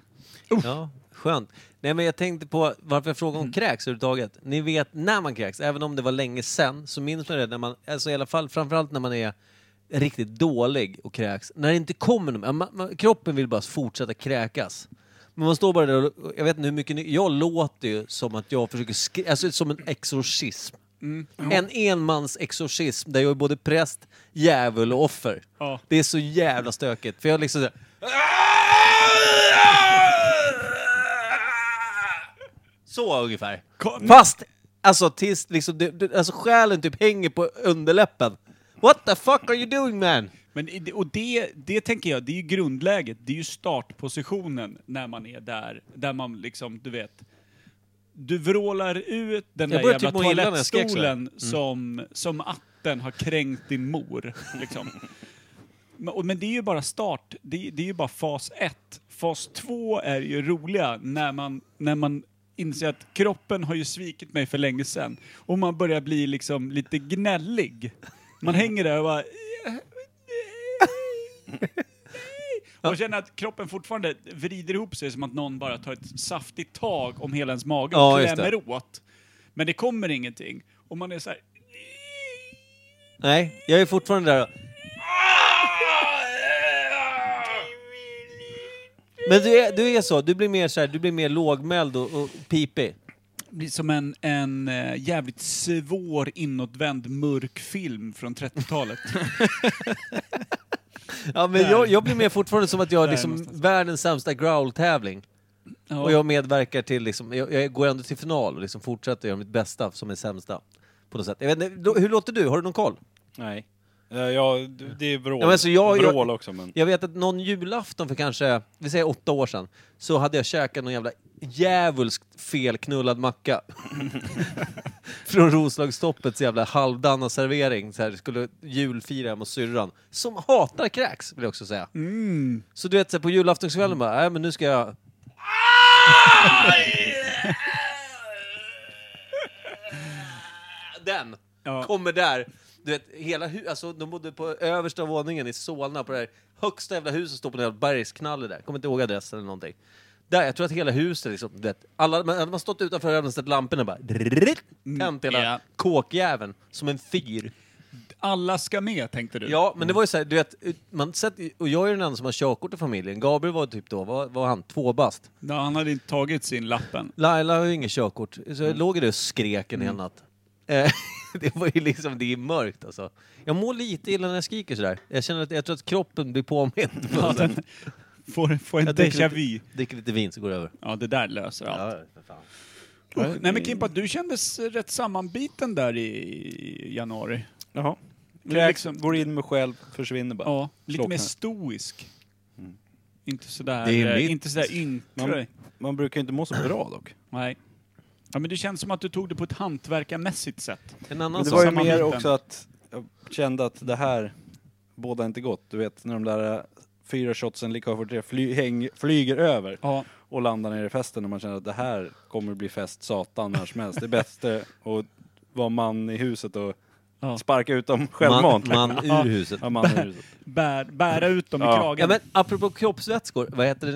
Ja, skönt. Nej, men jag tänkte på varför jag frågade om kräks överhuvudtaget. Ni vet när man kräks, även om det var länge sen, så minns man det när man, alltså i alla fall framförallt när man är riktigt dålig och kräks. När det inte kommer någon, ja, man, man, kroppen vill bara fortsätta kräkas. Men man står bara där och, och jag vet inte hur mycket ni, jag låter ju som att jag försöker skri- alltså som en exorcism. En enmans exorcism där jag är både präst, djävul och offer.
Ja.
Det är så jävla stökigt. För jag liksom så här, Så ungefär.
Kom-
Fast, alltså tills liksom, det, det, alltså själen typ hänger på underläppen. What the fuck are you doing man?
Men, i- och det, det tänker jag, det är ju grundläget, det är ju startpositionen när man är där, där man liksom, du vet, du vrålar ut den
Jag
där
börjar
jävla
typ må illa när jag skrek så här. Mm.
toalettstolen som, som atten har kränkt din mor. Liksom. men, och, men det är ju bara start, det, det är ju bara fas ett. Fas två är ju roliga när man, när man inser att kroppen har ju svikit mig för länge sedan. Och man börjar bli liksom lite gnällig. Man hänger där
[LAUGHS]
och bara... Och känner att kroppen fortfarande vrider ihop sig som att någon bara tar ett saftigt tag om hela ens mage och
Ja, just
klämmer åt. Men det kommer ingenting. Och man är så här...
Nej, jag är fortfarande där och- Men du är, du är så, du blir mer så här, du blir mer lågmäld och, och pipig.
blir som en, en eh, jävligt svår inåtvänd mörk film
[LAUGHS]
från 30-talet.
Ja, men jag, jag blir mer fortfarande som att jag är
Där
liksom
någonstans.
världens sämsta growl-tävling.
Ja.
Och jag medverkar till, liksom, jag, jag går ändå till final och liksom fortsätter göra mitt bästa som är sämsta. På något sätt. Jag vet, inte, då- hur låter du? Har du någon koll?
Nej. Eh, Ja, du- det är vrål.
Ja, men alltså jag- jag-
vrål också, men...
Jag vet att någon julafton för kanske, vi säger åtta år sedan, så hade jag käkat någon jävla djävulskt felknullad macka. Från Roslagsstoppets jävla halvdana servering. Så här, skulle julfira hemma hos syrran. Som hatar kräks, vill jag också säga. Så du vet, så här, på julaftonskvällen bara, nej men nu ska jag... [LAUGHS] Den
Ja.
kommer där. Du vet, hela hu- alltså, de bodde på översta våningen i Solna, på det här högsta jävla huset, står på en jävla bergsknalle där. Kommer inte ihåg adressen eller någonting. Där, jag tror att hela huset liksom, du vet, alla, man hade man stått utanför och hade sett lamporna bara, drrrrrrr, tänt hela
Mm, ja.
kåkjäveln som en fyr.
Alla ska med, tänkte du?
Ja, men det var ju så här, du vet, man sett, och jag är den enda som har körkort i familjen. Gabriel var typ då, vad var han, två bast?
Ja, Han hade inte tagit sin lappen.
Laila har ju inget körkort, så jag
Mm.
låg där och skrek en hel natt. Eh, [LAUGHS] det var ju liksom, det är mörkt alltså. Jag mår lite illa när jag skriker sådär. Jag känner att, jag tror att kroppen blir
[LAUGHS]
påmind. på något sätt.
Får, får en
Jag
déjà
dricker
vu.
lite, dricker lite vin så går det över.
Ja, det där löser allt.
Ja, för fan.
Usch. Nej men Kimpa, du kändes rätt sammanbiten där i- i januari.
Jaha.
Men
Kräks,
liksom-
går in med själv, försvinner bara.
Ja, lite
Slocknar.
mer stoisk. Inte sådär,
Mm. Det är
eh,
mitt.
inte sådär ynklig.
Man, man brukar inte må så bra dock.
Nej. Ja men det känns som att du tog det på ett hantverkarmässigt sätt.
En annan
Men det
sak.
var ju
samma
mer
mitten.
också att jag kände att det här eh, båda inte gott. Du vet när de där äh, fyra shotsen likör 43 fly, häng, flyger över.
Ja.
och landa ner i festen när man känner att det här kommer bli fest satan när som helst. Det är bättre att vara man i huset och
Ja.
sparka ut dem
Man,
självmant.
man ur huset.
Ja, man i huset.
Bär, bära ut dem i
Ja.
Ja,
kragen.
men apropå kroppsvätskor, vad heter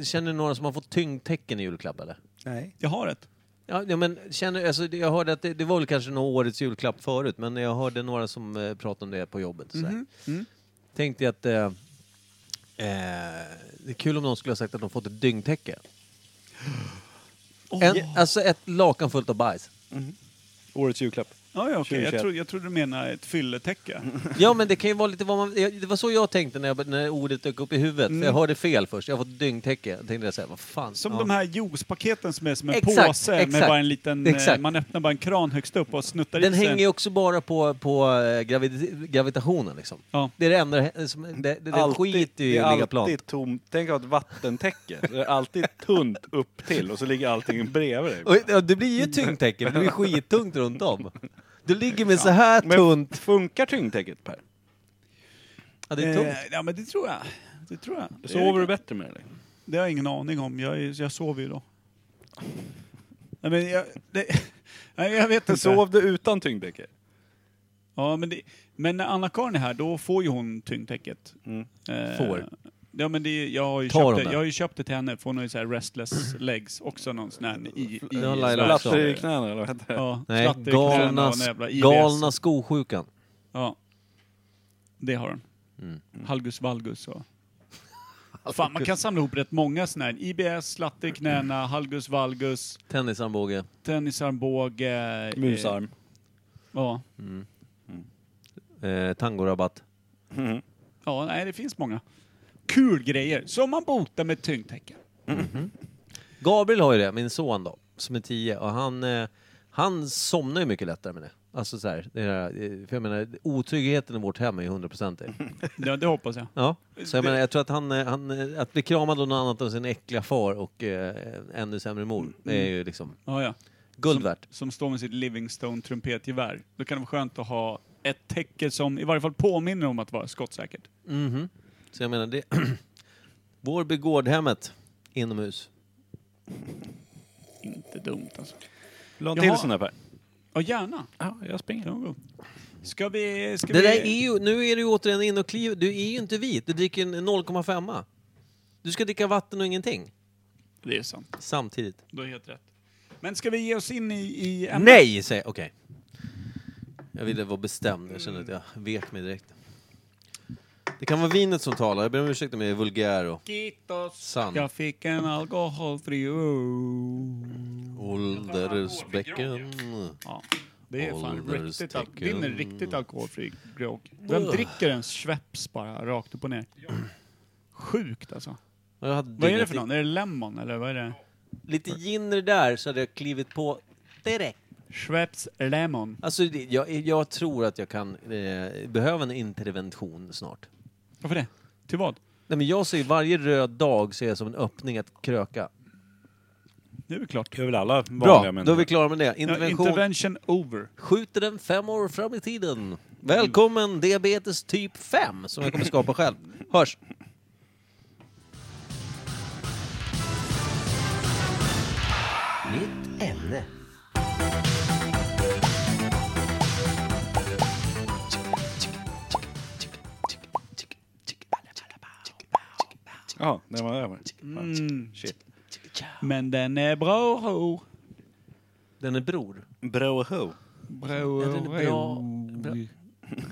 det? känner ni några som har fått tyngdtecken i julklapp eller?
Nej.
Jag har ett.
Ja, ja, men känner, alltså, det- jag hörde att det, det var väl kanske någon årets julklapp förut, men jag hörde några som eh, pratade om det på jobbet. sådär.
Mhm, mm.
Tänkte jag att eh, eh, det är kul om någon skulle ha sagt att de fått ett dyngtäcke.
Åh.
En, Alltså ett lakan fullt av bajs.
Årets julklapp.
Ja, ja, okej. Jag,
2021.
trodde, jag trodde du menade ett fylletäcke.
Ja, men det kan ju vara lite vad man... jag- Det var så jag tänkte när, jag, när ordet dök upp i huvudet. För jag hörde fel först. Jag har fått dyngtäcke. Jag tänkte såhär, vad fan.
Mm. Som
ja.
de här juicepaketen som är som en
Exakt,
påse med
exakt.
bara en liten... eh,
Exakt.
Man öppnar bara en kran högst upp och snuttar
Den
i sig.
hänger ju också bara på, på eh, gravid, gravitationen liksom.
Ja.
Det är det enda... eh, som- Det, det, den skiter ju
det
i
är
att ligga plant.
alltid tomt. Tänk att ha ett vattentäcke. Det är alltid tunt upp till och så ligger allting bredvid dig.
Och, ja, det blir ju
Mm.
tyngdtäcke, för det blir skittungt runt om. Du ligger med så här
Men
tunt...
funkar tyngdtäcket Per?
Ja, det är
Eh,
tungt.
ja, men det tror jag. Det tror jag. Det,
Sover du bättre med det? eller?
det har jag ingen aning om. Jag, är- jag sover ju då. Nej, men jag... Det, [LAUGHS] nej, jag vet inte.
Sov du utan tyngdtäcke?
Ja, men, det, men när Anna-Karin är här, då får ju hon tyngdtäcket. Eh,
Får.
Ja, men det, jag, har ju
Tar hon
köpt det,
det?
jag har ju köpt det till henne, för hon har ju så här restless legs också, någon sån här i, i,
Ja, Laila
slatt-
också.
Platser i knäna eller vad heter det?
Ja,
Nej,
slatt i knäna
galna,
och en jävla IBS.
galna skosjukan.
Ja. Det har hon.
Mm.
Halgus
[LAUGHS]
valgus och... Fan, man kan samla ihop rätt många såna här. IBS, slatter i knäna, halgus valgus,
Tennisarmbåge.
tennisarmbåge... eh,
Musarm.
Ja.
Eh, tangorabatt.
Ja, nej, det finns många. Kul grejer som man botar med tyngdtäcken.
Gabriel har ju det, min son då, som är tio. Och han, eh, han somnar ju mycket lättare med det. Alltså så här, det här, eh, för jag menar, otryggheten i vårt hem är ju hundraprocentig.
Ja, det hoppas jag.
Ja, så jag menar, jag tror att han, eh, han, eh, att bli kramad av någon annat än sin äckliga far och eh, ännu sämre mor, det är ju liksom
Ja, ja.
guld värt.
Mm. Som står med sitt Livingstone trumpetgevär. Då kan det vara skönt att ha ett täcke som i varje fall påminner om att vara skottsäkert.
Mhm. Så jag menar, det... [CLEARS THROAT] Vårby gårdhemmet inomhus.
Inte dumt alltså.
La en
Jaha.
till sån där Per.
Ja, gärna.
Ja, jag
Det
springer.
var god. Ska vi... Ska
Det
vi...
där är ju, nu är du ju återigen inne och kliver. Du är ju inte vit, du dricker en 0,5. Du ska dricka vatten och ingenting
Det är sant.
samtidigt.
Du har helt rätt. Men ska vi ge oss in i, i ämnet?
Nej, säger jag. Okej. Jag ville vara bestämd, jag kände att jag
Mm.
vek mig direkt. Det kan vara vinet som talar, jag ber om ursäkt om jag är vulgär och
Kitos.
sann.
Jag fick en alkoholfri öl.
Åldersbäcken.
Ja, det är fan
Ålderstecken.
riktigt, al- din är riktigt alkoholfri grogg. Vem dricker ens Schweppes bara rakt upp och ner? Sjukt alltså.
Jag hade
Vad är det för
dyngat
någon? Är det lemon eller vad är det?
i- Lite gin i det där så hade jag klivit på direkt.
Schweppes lemon.
Alltså, det- jag, jag tror att jag kan eh, behöva en intervention snart.
Varför det? Till vad?
Nej, men jag ser ju varje röd dag ser jag som en öppning att kröka.
Det är väl klart.
Det är väl alla
Bra,
vanliga
då är vi
människor.
klara med det.
Ja,
Intervention.
intervention over.
Skjuter den fem år fram i tiden. Välkommen diabetes typ 5 som jag kommer skapa själv. Hörs! Nytt ämne.
Ja, det var över.
Mm.
Shit.
Men den är bra. ho.
Den är bror.
[LAUGHS] Broho.
Bra.
Ja, den är bra.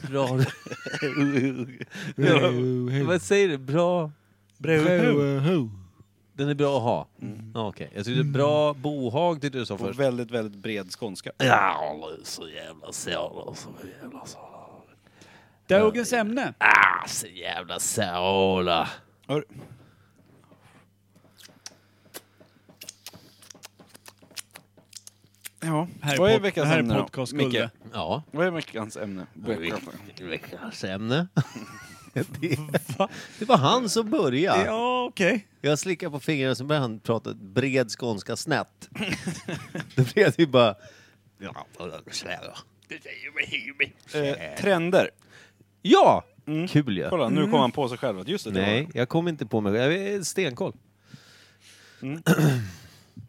bra.
[LAUGHS]
bra. Vad säger du? Bra?
Broho.
Den är bra att ha? Ja, Okej. Jag tyckte bra bohag tyckte du sa
Och
först.
väldigt, väldigt bred skånska.
Ja, så jävla sår, så jävla sår.
Dagens ämne.
Ah, så jävla sår.
Hör. Ja,
Här är
vad är
pod-
veckans
här är
ämne då,
podcast
Micke?
guld.
Ja.
Vad är veckans ämne?
Veckans [LAUGHS] ämne. det, det var han som började.
Ja, okej.
Jag slickade på fingrarna så började han prata bred skånska snett. Då blev det ju bara...
Eh, trender.
Ja! Kul ju.
Mm.
Kolla, nu kom han på sig själv att just det, det
Nej, jag kom inte på mig Jag är stenkoll. [CLEARS THROAT]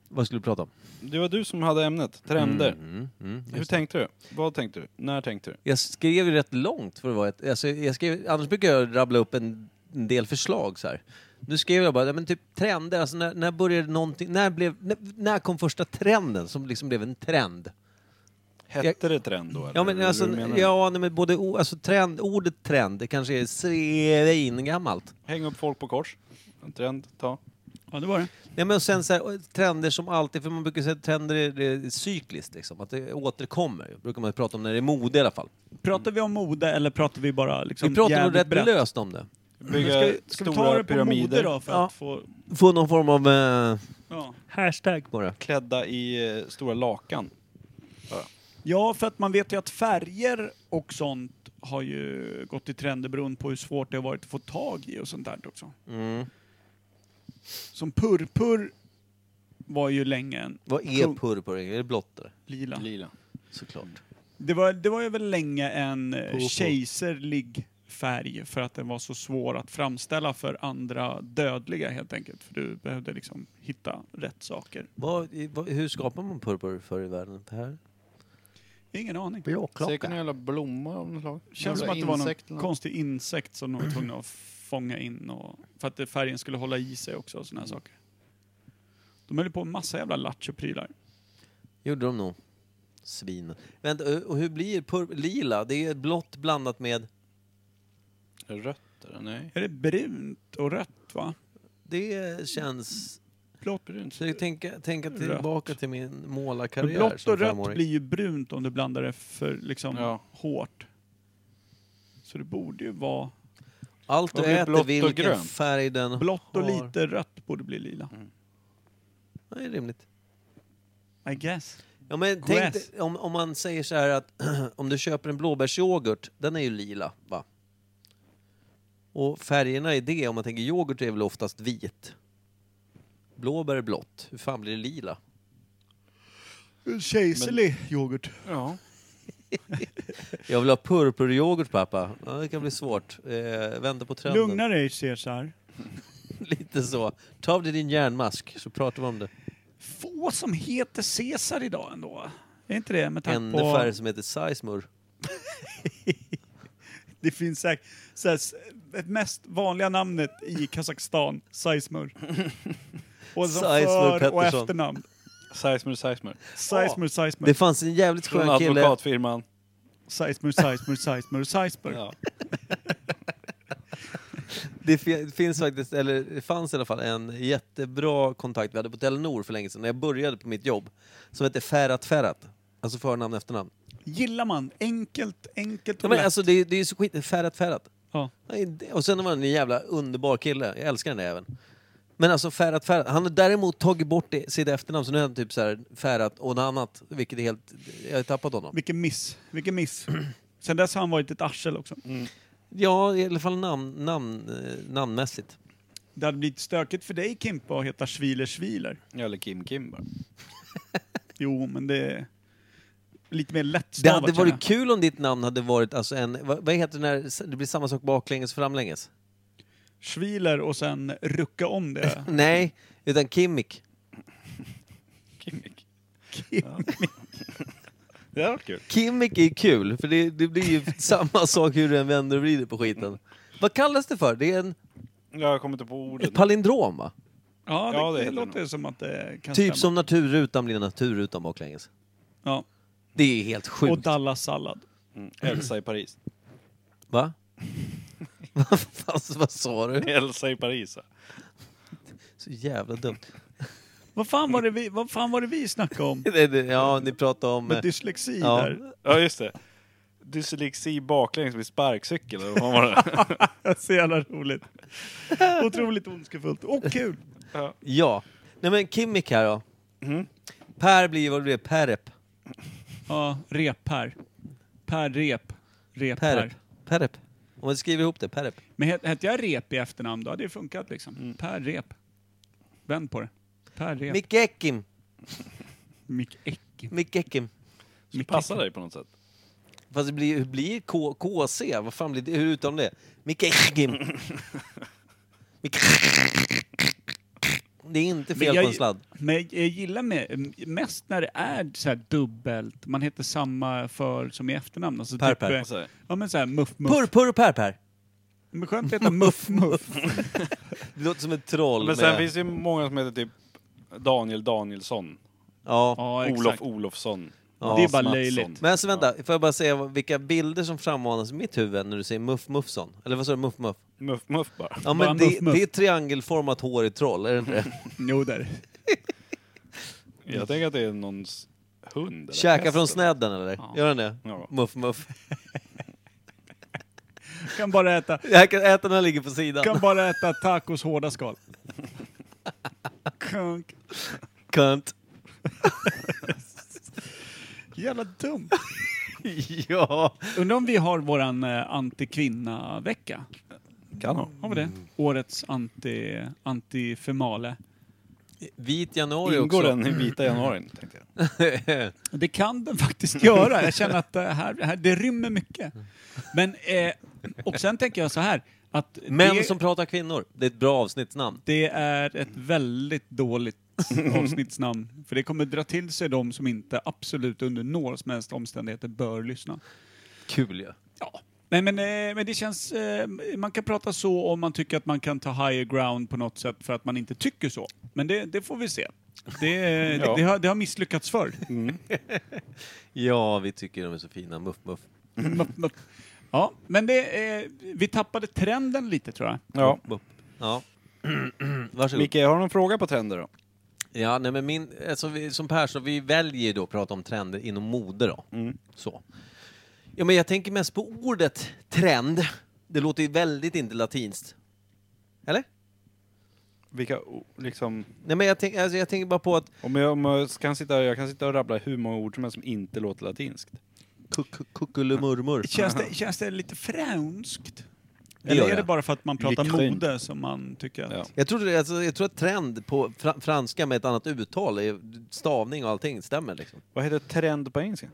Vad skulle du prata om?
Det var du som hade ämnet, trender.
Mm, mm,
Hur tänkte du? Vad tänkte du? När tänkte du?
Jag skrev ju rätt långt för att vara ett... Alltså jag skrev, annars brukar jag rabbla upp en, en del förslag så här. Nu skrev jag bara, ja, men typ trender, alltså när, när började någonting, när, blev, när, när kom första trenden som liksom blev en trend?
Hette det trend då? Eller?
Ja men
Eller
alltså,
hur menar du?
ja, nej, men både, o- alltså trend, ordet trend, det kanske är svingammalt.
Häng upp folk på kors. En trend, ta.
Ja, det var det.
Nej men och sen så här, trender som alltid, för man brukar säga att trender är, det är cykliskt liksom, att det återkommer. Brukar man prata om när det är mode i alla fall.
Pratar vi om mode eller pratar vi bara liksom
Vi pratar nog
jävligt
rätt
brett?
löst om det.
Bygga
Ska, vi- ska vi
stora
ta det på
pyramider.
mode då för
Ja.
att få...
Få någon form av eh,
Ja.
hashtag på det.
Klädda i eh, stora lakan.
ja, för att man vet ju att färger och sånt har ju gått i trender beroende på hur svårt det har varit att få tag i och sånt där också.
Mm.
Som purpur var ju länge en
Vad är purpur? Är det blått där?
lila.
Lila.
Såklart.
Det var, det var ju väl länge en eh,
Purpur.
kejserlig färg för att den var så svår att framställa för andra dödliga helt enkelt. För du behövde liksom hitta rätt saker.
Vad, i- vad, hur skapar man purpur för i världen? Det här?
Ingen aning.
Säkert en jävla blomma av något slag.
Känns som
Jävla
att det var någon
insekt eller något.
konstig insekt som de var tvungna att fånga in och, för att det- färgen skulle hålla i sig också och såna här saker. De höll på med massa jävla lattjo prylar.
Gjorde de nog. Svin. Vänta, ö- och hur blir purpur? Lila, det är blått blandat med...
Rötter? Nej.
Är det brunt och rött va?
Det känns...
Blått,
Så jag tänker tänka tillbaka till min
Men
målarkarriär
blått
som
och rött
femåring.
blir ju brunt om du blandar det för liksom
Ja.
hårt. Så det borde ju vara...
Allt du
Vad blir blått
äter,
och
vilken
grönt?
färg den
Blått och
har.
lite rött borde bli lila.
Det är rimligt.
I guess.
Ja, men tänk
Grass.
dig, om, om man säger så här att [CLEARS THROAT] om du köper en blåbärsyoghurt, den är ju lila va? Och färgerna i det, om man tänker yoghurt är väl oftast vit. Blåbär är blått, hur fan blir det lila? Eh,
Kejserlig yoghurt.
Ja.
Jag vill ha purpuryoghurt pappa. Ja, det kan bli svårt. Eh, vända på trenden.
Lugna dig Cesar.
[LAUGHS] Lite så. Ta av dig din järnmask så pratar vi om det.
Få som heter Cesar idag ändå. Är inte det med tanke
Ännu
på...
färre som heter Sizemore.
Det finns säkert... Så här, s- det mest vanliga namnet
[LAUGHS]
i Kazakstan, Seismur. Och så
Seismur
för och
Pettersson.
efternamn.
Seismer, Seismer.
Seismur, Seismur,
Det fanns en jävligt
Från
skön kille.
advokatfirman.
Seismur, Seismur, Seismur, Seismur.
Ja.
Det fi- finns faktiskt, eller det fanns i alla fall en jättebra kontakt vi hade på Telenor för länge sedan när jag började på mitt jobb. Som hette Ferhat Ferhat. Alltså förnamn och efternamn.
Gillar man. Enkelt, enkelt
Ja,
och
men
lätt.
alltså det, är- det är ju så skit... Ferhat Ferhat.
Ja.
Nej, det- Och sen var han en jävla underbar kille. Jag älskar den där även. Men alltså Ferhat Ferhat. Han har däremot tagit bort det, sitt efternamn så nu är han typ så här Ferhat och något annat. Vilket är helt... Jag har tappat honom.
Vilken miss. Vilken miss. [CLEARS THROAT] Sen dess har han varit ett arsel också.
Ja, i alla fall namn, namn, eh, namnmässigt.
Det hade blivit stökigt för dig Kimpa att heta Schwiler Schwiler.
Eller Kim Kim bara.
Jo, men det är lite mer
Det
lättstavat.
hade
känner
varit
jag.
kul om ditt namn hade varit alltså en... Vad, vad heter det när det blir samma sak baklänges och framlänges?
Schwiler och sen rucka om det.
Nej, utan Kimmik.
Kimmik. Det hade varit kul.
Kimmik är kul, för det, det blir
[LAUGHS]
ju samma sak hur du än vänder och vrider på skiten. Vad kallas det för? Det är en,
Jag kommer inte på
ett
ordet.
palindrom, va?
Ja, det,
Ja, det
det,
heter
låter som att det kan stämma.
Typ som naturrutan blir naturrutan baklänges.
Ja.
Det är helt
Och
sjukt.
Dallas-sallad.
Mm. Elsa i Paris.
Va? [LAUGHS] Vad fan, vad sa du?
Elsa i Paris. ja.
Så jävla
[LAUGHS]
dumt.
Vad fan var det vi, vad fan var det vi
[LAUGHS]
snackade om?
Det- det- Ja, ni pratade om...
Med
eh,
dyslexi
ja.
där. [LAUGHS]
Ja, just det. Dyslexi baklänges med sparkcykel. eller vad fan var det? [LAUGHS]
Så jävla roligt. Otroligt ondskefullt. Och kul!
Ja. Nej men Kimmik här då.
Mm.
Per blir ju vad det blir, Perep.
Ja, rep här. Per rep. Rep
Perep.
här.
Perep. Om man skriver ihop det, Perep.
Men het- hette jag rep i efternamn då hade det funkat liksom.
Mm.
Per rep. Vänd på det. Per rep.
Micke Ekim.
Mick Eck.
Micke Ekim.
Som passar dig på något sätt.
Fast det blir, hur blir K, KC? Vad fan blir det? Hur uttalar
[LAUGHS]
man det? Micke Ekim. Micke Det är inte
Men
fel
jag-
på en sladd.
Men jag gillar med, mest när det är så här dubbelt, man heter samma för som i efternamn. Alltså
Per,
typ,
Per.
eh, Ja men såhär Muff Muff.
Purr, purr och Per, Per.
Men skönt att
[LAUGHS]
heta Muff Muff.
Det låter som ett troll.
Men sen
med-
finns det ju många som heter typ Daniel Danielsson.
Ja.
Ja
Olof
exakt.
Olofsson.
Ja.
Det är bara
Mattsson.
löjligt.
Men alltså vänta, får jag bara säga vad- vilka bilder som frammanas i mitt huvud när du säger Muff Muffson? Eller vad sa du? Muff Muff?
Muff, muff bara.
Ja
Bara
men det,
Muff Muff.
det är triangelformat hår i troll, är det inte
[LAUGHS]
det?
Jo där.
Jag tänker att det är någons hund. eller
Käka
häst
från
eller-
snedden eller?
Alltså. Ja.
Gör den det?
Ja.
Muff Muff.
Kan bara äta,
Jag kan äta när jag ligger på sidan.
kan bara äta tacos
[LAUGHS]
hårda skal. Kunk.
Kunt.
Jävla dumt.
[LAUGHS] Ja.
Undrar om vi har våran eh, antikvinna-vecka?
Kan ha.
Har vi det? Årets anti, antifemale.
Vit januari
Ingår
också.
den i vita januari? Tänkte jag.
[LAUGHS]
Det kan den [LAUGHS] faktiskt göra. Jag känner att det, här, här, det rymmer mycket. Men, eh, och sen tänker jag så här. Att
Män
det,
som pratar kvinnor. Det är ett bra avsnittsnamn.
det är ett väldigt dåligt avsnittsnamn. För det kommer dra till sig de som inte absolut under några som helst omständigheter bör lyssna.
Kul ju.
Ja. Nej men, eh, men det känns, eh, man kan prata så om man tycker att man kan ta higher ground på något sätt för att man inte tycker så. Men det, det får vi se. Det, eh, det, det, har, det har misslyckats förr.
Ja, vi tycker de är så fina. Muff Muff.
Mupp, mupp. [LAUGHS] Ja, men det, eh, vi tappade trenden lite tror jag.
[LAUGHS] Ja.
Mupp. Ja. [CLEARS THROAT] Varsågod.
Micke, har du någon fråga på trender då?
Ja, nej men min, alltså vi, som Per sa, vi väljer ju då att prata om trender inom mode då. Så. Ja, men jag tänker mest på ordet trend. Det låter ju väldigt inte latinskt. Eller?
Vilka, o- liksom,
Nej, men jag, tänk, alltså, jag tänker bara på att
om jag, om jag, kan sitta, jag kan sitta och rabbla hur många ord som helst som inte låter latinskt.
kuck- kuck- kuckelumurmur.
Känns det, känns det lite fränskt?
Det
Eller
gör
är det
jag.
bara för att man pratar
Lite
mode som man tycker att...
Ja.
Jag tror, alltså, jag tror att trend på fra, franska med ett annat uttal, är- stavning och allting stämmer liksom.
Vad heter trend på engelska?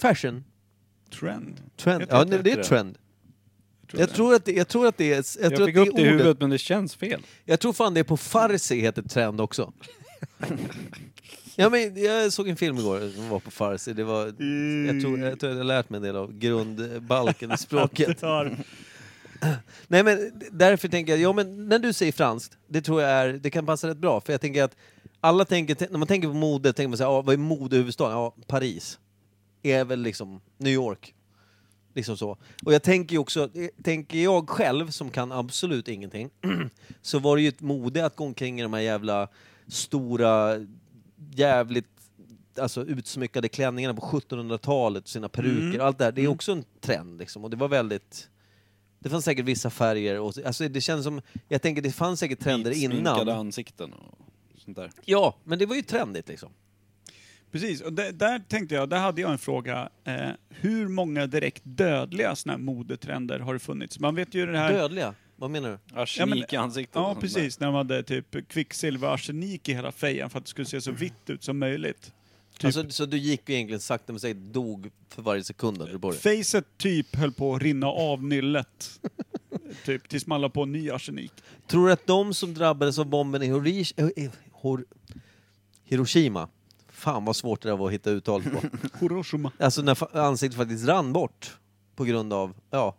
Fashion.
Trend?
Trend.
Jag tror
Ja,
att
nej,
det
det
är
är trend.
tror
Jag tror att det, jag tror att det är, jag
Jag
tror
fick
att
upp det i
ordet.
huvudet men det känns fel.
Jag tror fan det är på farsi heter trend också. Ja, men jag såg en film igår som var på farsi. Det var, jag, tror, jag tror jag har lärt mig en del av grundbalken
[LAUGHS]
i språket. Nej, men därför tänker jag, ja, men när du säger franskt, det tror jag är, det kan passa rätt bra. För jag tänker att alla tänker, när man tänker på mode, tänker man så här, ja, vad är modehuvudstaden? Ja, Paris. Är väl liksom New York. Liksom så. Och jag tänker ju också, eh, tänker jag själv som kan absolut ingenting, [CLEARS THROAT] så var det ju ett mode att gå omkring i de här jävla stora, jävligt alltså utsmyckade klänningarna på 1700-talet, sina peruker och allt det där. Det är också en trend liksom. Och det var väldigt... Det fanns säkert vissa färger och alltså det känns som, jag tänker det fanns säkert trender
Vitsminkade
innan.
ansikten och sånt där.
Ja, men det var ju trendigt liksom.
Precis, och där, där tänkte jag, där hade jag en fråga. Eh, hur många direkt dödliga sådana här modetrender har det funnits? Man vet ju det här...
Dödliga, vad menar du?
Arsenik i ansiktet och
Ja,
sånt där.
precis. När de hade typ kvicksilver och arsenik i hela fejan för att det skulle se så vitt ut som möjligt. Typ.
Alltså, så du gick ju egentligen sakta men säkert dog för varje sekund när du började?
Facet typ höll på att rinna av nyllet. typ, tills man la på ny arsenik.
Tror du att de som drabbades av bomben i Horish, eh, eh, Hor, Hiroshima, fan vad svårt det där var att hitta uttalet
[LAUGHS]
på,
Hiroshima.
alltså när fa- ansiktet faktiskt rann bort på grund av ja,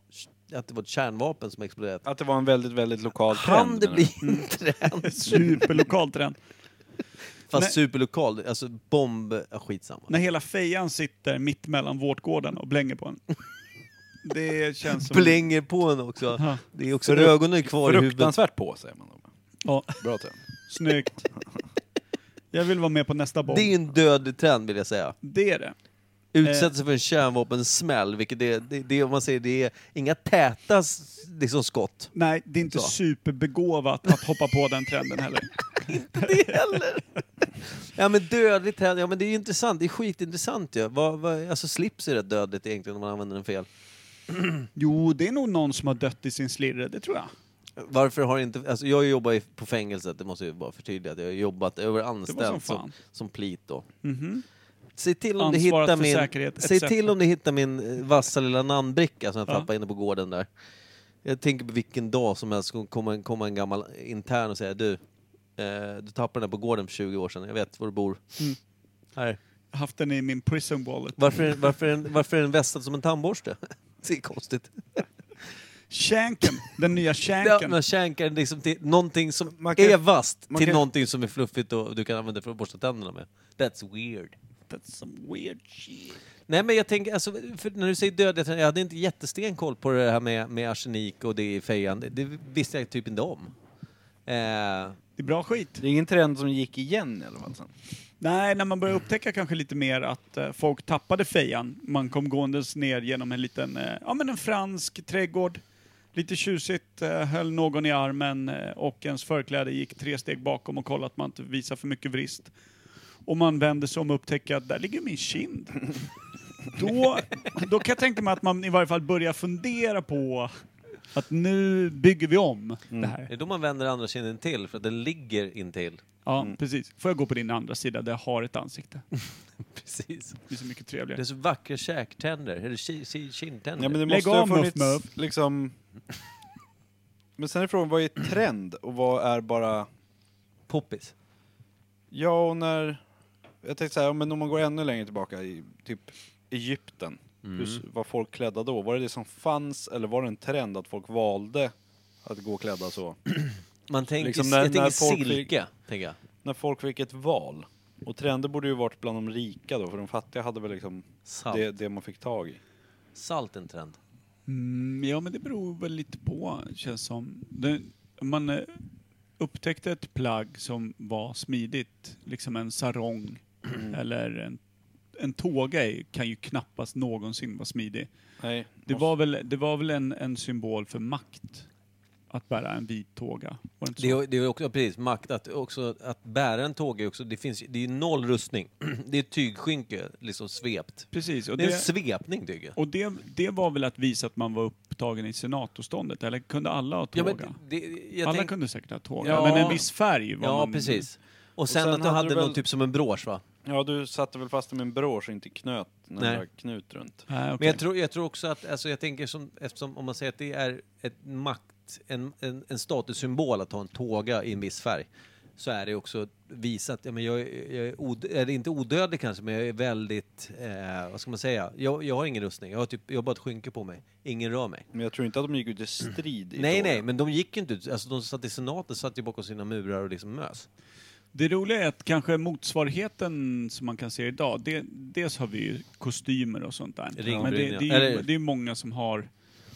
att det var ett kärnvapen som exploderat.
Att det var en väldigt, väldigt lokal
Kan
trend.
det
menar
bli en trend?
Superlokal trend.
Fast
Mm. Nej.
superlokal, alltså bomb, ja, skitsamma.
När hela fejan sitter mitt mellan vårtgården och blänger på en. Det känns som...
Blänger på en också.
Ja.
Det är också
Frukt-
ögonen är
du?
kvar i huvudet.
Fruktansvärt på säger man då.
Ja,
Bra trend.
snyggt. Jag vill vara med på nästa bomb.
Det är en dödlig trend vill jag säga.
Det är det.
Utsätta sig för en kärnvapensmäll, vilket det, det, det om man säger, det är inga täta s- liksom, skott. [LAUGHS]
Nej, det är inte
Så.
superbegåvat att hoppa på den trenden heller.
det heller. Ja men dödligt händer, ja men det är ju intressant, det är skitintressant ju. Vad, vad, alltså slips är rätt dödligt egentligen om man använder den fel.
Jo, det är nog någon som har dött i sin slirre, det tror jag.
Varför har inte, alltså jag jobbar ju på fängelset, det måste jag ju bara förtydliga, att jag har jobbat, jag var anställd
som
som,
fan. Mhm.
som, plit då. Säg till om
Ansvarat
du hittar
för
min,
säkerhet,
säg
etc.
till om du hittar min eh, vassa lilla namnbricka som jag
Ja.
tappade inne på gården där. Jag tänker på vilken dag som helst kommer komma en, komma en gammal intern och säga du, eh, du tappade den här på gården för 20 år sedan, jag vet var du bor.
Mm.
Här.
Haft den i min prison wallet.
Varför, är- varför, är den- varför är den vässad som en tandborste? [LAUGHS] Det är konstigt.
Shanken, den nya
Ja,
shanken.
men känkan liksom till någonting som
Man kan-
är vasst
man
till
kan-
någonting som är fluffigt och du kan använda för att borsta tänderna med. That's weird.
That's some weird shit.
Nej men jag tänker, alltså, för när du säger dödlighet, jag hade inte jättesten koll på det här med, med arsenik och det i fejan. Det, det visste jag typ inte om. Eh,
Det är bra skit.
Det är ingen trend som gick igen i alla fall sen.
Nej, när man började upptäcka kanske lite mer att eh, folk tappade fejan. Man kom gåendes ner genom en liten, eh, ja men en fransk trädgård. Lite tjusigt, eh, höll någon i armen eh, och ens förkläde gick tre steg bakom och kollade att man inte visar för mycket vrist. Och man vände sig om och upptäckte att där ligger min kind. Då, då kan jag tänka mig att man i varje fall börjar fundera på att nu bygger vi om det här.
det är då man vänder andra kinden till, för att den ligger intill.
Ja, precis. Får jag gå på din andra sida där jag har ett ansikte?
Precis.
Det är så mycket
Det är
trevligare.
så vackra käktänder, eller ki- ki- kindtänder.
Ja, men det
Lägg
måste ha
av, Muff
funnits
Muff.
liksom... Men sen är frågan, vad är trend och vad är bara...
Poppis.
Ja, och när... Jag tänkte så här, ja, men om man går ännu längre tillbaka i typ Egypten.
Mm.
Hur var folk klädda då? Var det det som fanns eller var det en trend att folk valde att gå klädda så?
Man tänker,
Liksom när-
jag tänker
när folk fick-
silke, tänker jag.
när folk fick ett val. Och trender borde ju varit bland de rika då, för de fattiga hade väl liksom
Salt.
det, det man fick tag i.
Salt är en trend.
Mm, ja, men det beror väl lite på, känns som. Det, man eh, upptäckte ett plagg som var smidigt, liksom en sarong
Mm.
eller en, en tåga är- kan ju knappast någonsin vara smidig.
Nej,
Det var väl, det var väl en, en symbol för makt, att bära en vit tåga. Var det inte
Det
så?
är, det är också, ja, precis, makt. Att, också, att bära en tåge är också, det finns det är ju noll rustning. [CLEARS THROAT] Det är ett tygskynke, liksom svept.
Precis, och
Det är en
det,
svepning, tycker jag.
och det, det var väl att visa att man var upptagen i senatorståndet, eller kunde alla ha
Ja,
tåga?
men det, jag
alla
tänk,
kunde säkert ha tåga,
Ja.
men en viss färg var
ja
man...
precis. Och sen,
sen
att du
hade
hade
du
någon
väl-
typ som en brosch, va?
Ja, du satte väl fast dem i en brosch och inte knöt när
Nej.
det var knut runt.
Nej, Ah, okej.
Men jag tror, jag tror också att, alltså jag tänker som, eftersom om man säger att det är ett makt, en, en, en statussymbol att ha en tåga i en viss färg, så är det också visat, ja, men jag, är- jag är, od, eller inte odödlig kanske, men jag är väldigt, eh, vad ska man säga, jag, jag har ingen rustning, jag har, typ, jag har bara ett skynke på mig, ingen rör mig.
Men jag tror inte att de gick ut i strid i
Nej,
tågen.
nej, men de gick ju inte ut, alltså de satt i senaten, satt ju bakom sina murar och liksom mös.
Det roliga är att kanske motsvarigheten som man kan se idag, det, dels har vi ju kostymer och sånt där.
Ringbryn,
men det,
ja.
det, är ju,
Eller-
det är många som har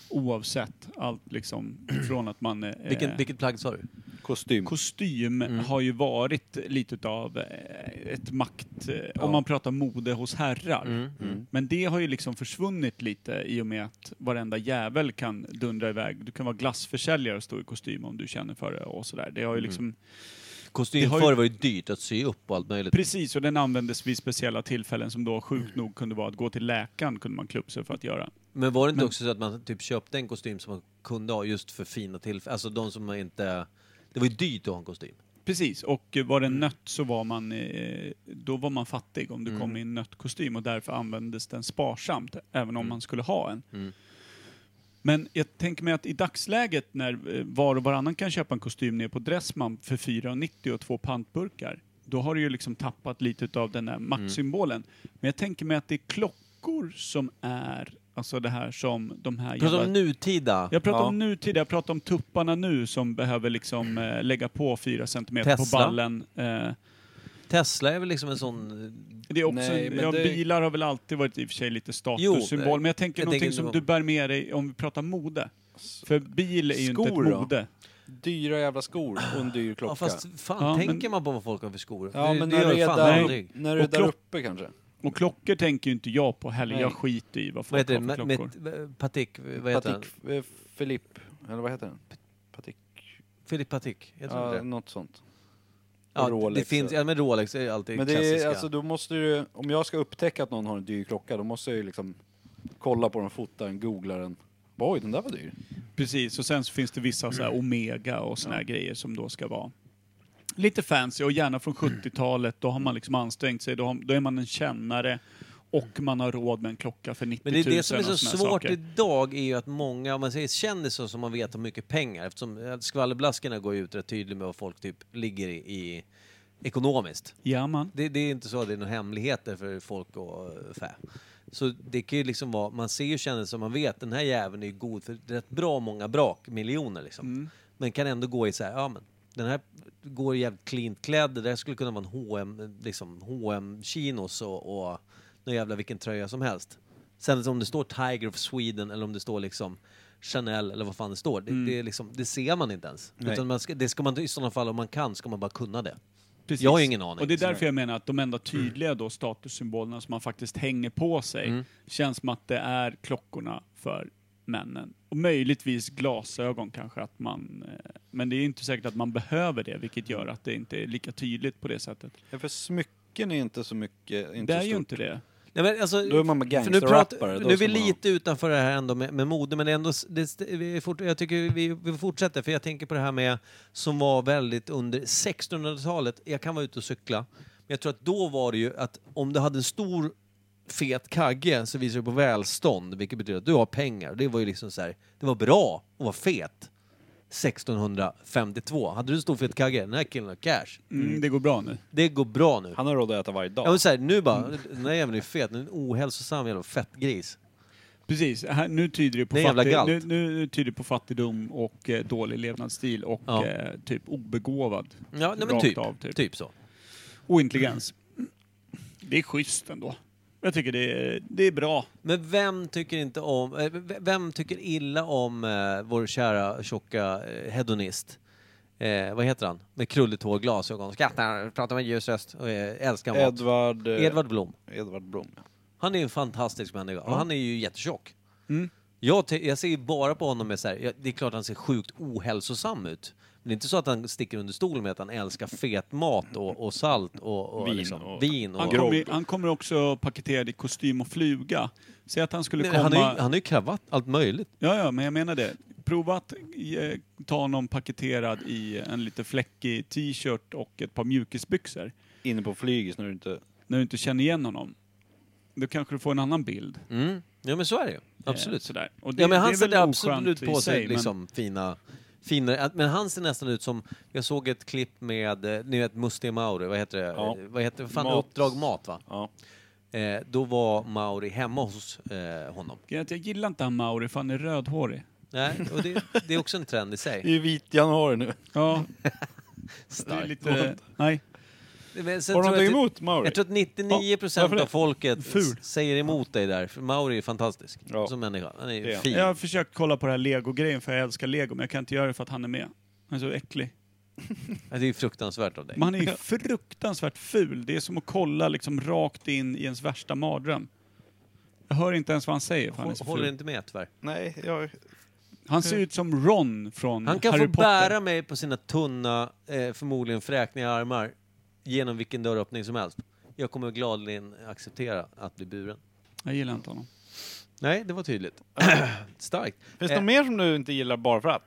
oavsett allt liksom från att man... Eh,
Vilken, Mm. vilket plagg sa du?
Kostym.
Kostym har ju varit lite utav eh, ett makt, eh, om man pratar mode hos herrar.
Mm,
Men det har ju liksom försvunnit lite i och med att varenda jävel kan dundra iväg. Du kan vara glassförsäljare och stå i kostym om du känner för det och sådär. Det har
Mm.
ju liksom Det
Kostym
har ju-
förr var ju dyrt att sy upp och allt möjligt.
Precis, och den användes vid speciella tillfällen som då sjukt nog kunde vara att gå till läkaren kunde man klubba sig för att göra.
Men var det inte
Men-
också så att man typ köpte en kostym som man kunde ha just för fina tillfällen? Alltså de som man inte... Det var ju dyrt att ha en kostym.
Precis, och eh, var
Mm.
det en nött så var man, eh, då var man fattig om du
Mm.
kom i en nöttkostym och därför användes den sparsamt, även
Mm.
om man skulle ha en. Men jag tänker mig att i dagsläget när eh, var och varannan kan köpa en kostym ner på Dressman för 4,90 och två pantburkar, då har du ju liksom tappat lite av den där
Mm.
maktsymbolen. Men jag tänker mig att det är klockor som är, alltså det här som de här
Pratar
jävla-
om nutida.
Jag pratar
Ja.
om nutid, jag pratar om tupparna nu som behöver liksom eh, lägga på fyra centimeter på
Tesla.
ballen. Eh,
Tesla är väl liksom en sån... eh,
det är också,
Nej, men
ja,
det-
bilar har väl alltid varit i och för sig lite statussymbol,
Jo,
men jag tänker
jag
någonting
tänker
som
nog-
du bär med dig om vi pratar mode. För bil är ju
Alltså, Skor
inte
då?
ett mode.
Dyra jävla skor och en dyr klocka.
Ja, fast fan,
Ja, men-
tänker man på vad folk har för skor?
Ja,
det,
men
det
när
gör
du
ju
är
fan
där,
aldrig.
när du är
Och
där
klock-
uppe kanske.
Och klockor tänker ju inte jag på heller,
Nej.
jag skiter i vad
Vad
folk
heter
har
det?
för
Med,
klockor.
med, patik? Vad heter han?
Patik eh, Philipp, eller vad heter den? Patik?
Filip Patik? Heter han
Ja,
det?
något sånt.
Ja, det
Rolex,
finns...
ja.
Ja, men Rolex är ju alltid
Men det
klassiska.
är, alltså, då måste du, om jag ska upptäcka att någon har en dyr klocka, då måste jag ju liksom kolla på den, fota den, googla den. Oj, den där var dyr.
Precis, och sen så finns det vissa så här Omega och såna här grejer som då ska vara lite fancy och gärna från 70-talet. Då har man liksom ansträngt sig, då, har, då är man en kännare och man har råd med en klocka för 90
Men
000
det är det som är
och
så
såna här
svårt
saker.
idag är ju att många, om man säger kändisar som man vet har mycket pengar, eftersom eh, skvallerblaskorna går ju ut rätt tydligt med vad folk typ ligger i, i ekonomiskt.
Ja, man.
Det, det är inte så att det är några hemligheter för folk och eh, fä. Så det kan ju liksom vara, man ser ju kändisar man vet, den här jäveln är ju god för rätt bra många brak, miljoner liksom.
Mm.
Men kan ändå gå i så här, ja men den här går jävligt cleant klädd, det där skulle kunna vara en H&M, liksom H&M chinos och, och någon jävla vilken tröja som helst. Sen om det står Tiger of Sweden eller om det står liksom Chanel eller vad fan det står, det, det, är liksom, det ser man inte ens.
Mm. Nej.
Utan man ska, det ska man i sådana fall, om man kan, ska man bara kunna det.
Precis.
Jag har ju ingen aning. Mm.
Och det är därför jag menar att de enda tydliga då statussymbolerna som man faktiskt hänger på sig
Mm.
känns som att det är klockorna för männen. Och möjligtvis glasögon kanske att man... eh, Men det är inte säkert att man behöver det, vilket gör att det inte är lika tydligt på det sättet.
Ja, för smycken är inte så mycket... Inte
det är
så
ju
stort.
inte det.
Nej, men alltså,
Då är man
för nu,
gangsterrappare, då
nu är
ska
vi
man ha-
lite utanför det här ändå med, med mode, men det är ändå, s- det, st- vi är fort, jag tycker vi, vi fortsätter, för jag tänker på det här med, som var väldigt under 1600-talet, jag kan vara ute och cykla, men jag tror att då var det ju att om du hade en stor fet kagge så visar det på välstånd, vilket betyder att du har pengar. Det var ju liksom så här, det var bra att vara fet 1652. Hade du en stor fet kagge, den här killen har cash.
Mm, det går bra nu.
Det går bra nu.
Han har råd att äta varje dag.
Ja, men så här, nu bara, den här jäveln är fet, den är en ohälsosam jävla fettgris.
Precis, här, nu, tyder det på
Det är jävla
fatti-
galt.
nu, nu tyder det på fattigdom och eh, dålig levnadsstil och
Ja.
eh, typ obegåvad.
Ja, nej, men
Rakt
typ,
av,
typ.
typ.
så.
Och intelligens. Det är schysst ändå. Jag tycker det är, det är bra.
Men vem tycker inte om, eh, v- vem tycker illa om eh, vår kära tjocka eh, hedonist? Eh, vad heter han? Med krulligt hår, glasögon, skrattar, pratar med ljus röst och eh, älskar mat.
Edvard... eh,
Edvard Blom.
Edvard Blom, ja.
Han är en fantastisk människa och han är ju jättetjock. Jag, te- jag ser ju bara på honom med så här, jag, det är klart han ser sjukt ohälsosam ut. Men det är inte så att han sticker under stolen med att han älskar fet mat och, och salt och, och
Vin
liksom,
och-
vin. Och,
Han kommer, han kommer också paketerad i kostym och flyga. Säg att han skulle
Nej,
komma...
han, är, ju- han är ju kravatt, allt möjligt.
Ja, ja, men jag menar det. Prova att eh, ta någon paketerad i en lite fläckig t-shirt och ett par mjukisbyxor.
Inne på flyget när du inte...
När du inte känner igen honom. Då kanske du får en annan bild.
Mm. Ja men så är det ju. Absolut.
Eh, sådär. Och
ja men han
är väl
ser
oskönt
absolut
i
på sig
men-
liksom fina, fina... att- Men han ser nästan ut som... Jag såg ett klipp med, eh, ni vet Musti Mauri, vad heter det?
Ja.
Eh, Vad heter det? Fan,
Mat.
Uppdrag Mat va?
Ja.
Eh, då var Mauri hemma hos eh, honom.
Jag jag gillar inte han Mauri, för han är rödhårig.
Nej, och det, det är också en trend i
Det
[LAUGHS]
är
sig.
ju vit januari nu.
[LAUGHS]
Ja, det är
Starkt.
lite... Nej.
Men sen
Har du
tror jag
någonting
att-
emot Mauri?
Jag tror att 99 procent av folket s- säger emot dig där. För Mauri är fantastisk
Ja.
som människa. Han är ju
Det är han.
fin.
Jag har försökt kolla på den här lego-grejen, för jag älskar lego, men jag kan inte göra det för att han är med. Han är så äcklig.
Det är ju fruktansvärt av dig.
Men han är ju fruktansvärt ful. Det är som att kolla liksom rakt in i ens värsta mardröm. Jag hör inte ens vad han säger, för han är så
Håller
ful.
inte med tyvärr.
Nej, jag...
Han ser ut som Ron
Mm.
från
Han kan
Harry
få
Potter.
bära mig på sina tunna, eh, förmodligen fräkniga armar genom vilken dörröppning som helst. Jag kommer gladeligen acceptera att bli buren.
Jag gillar inte honom.
Nej, det var tydligt. [CLEARS THROAT] Starkt.
Finns det
Eh,
något mer som du inte gillar bara för att?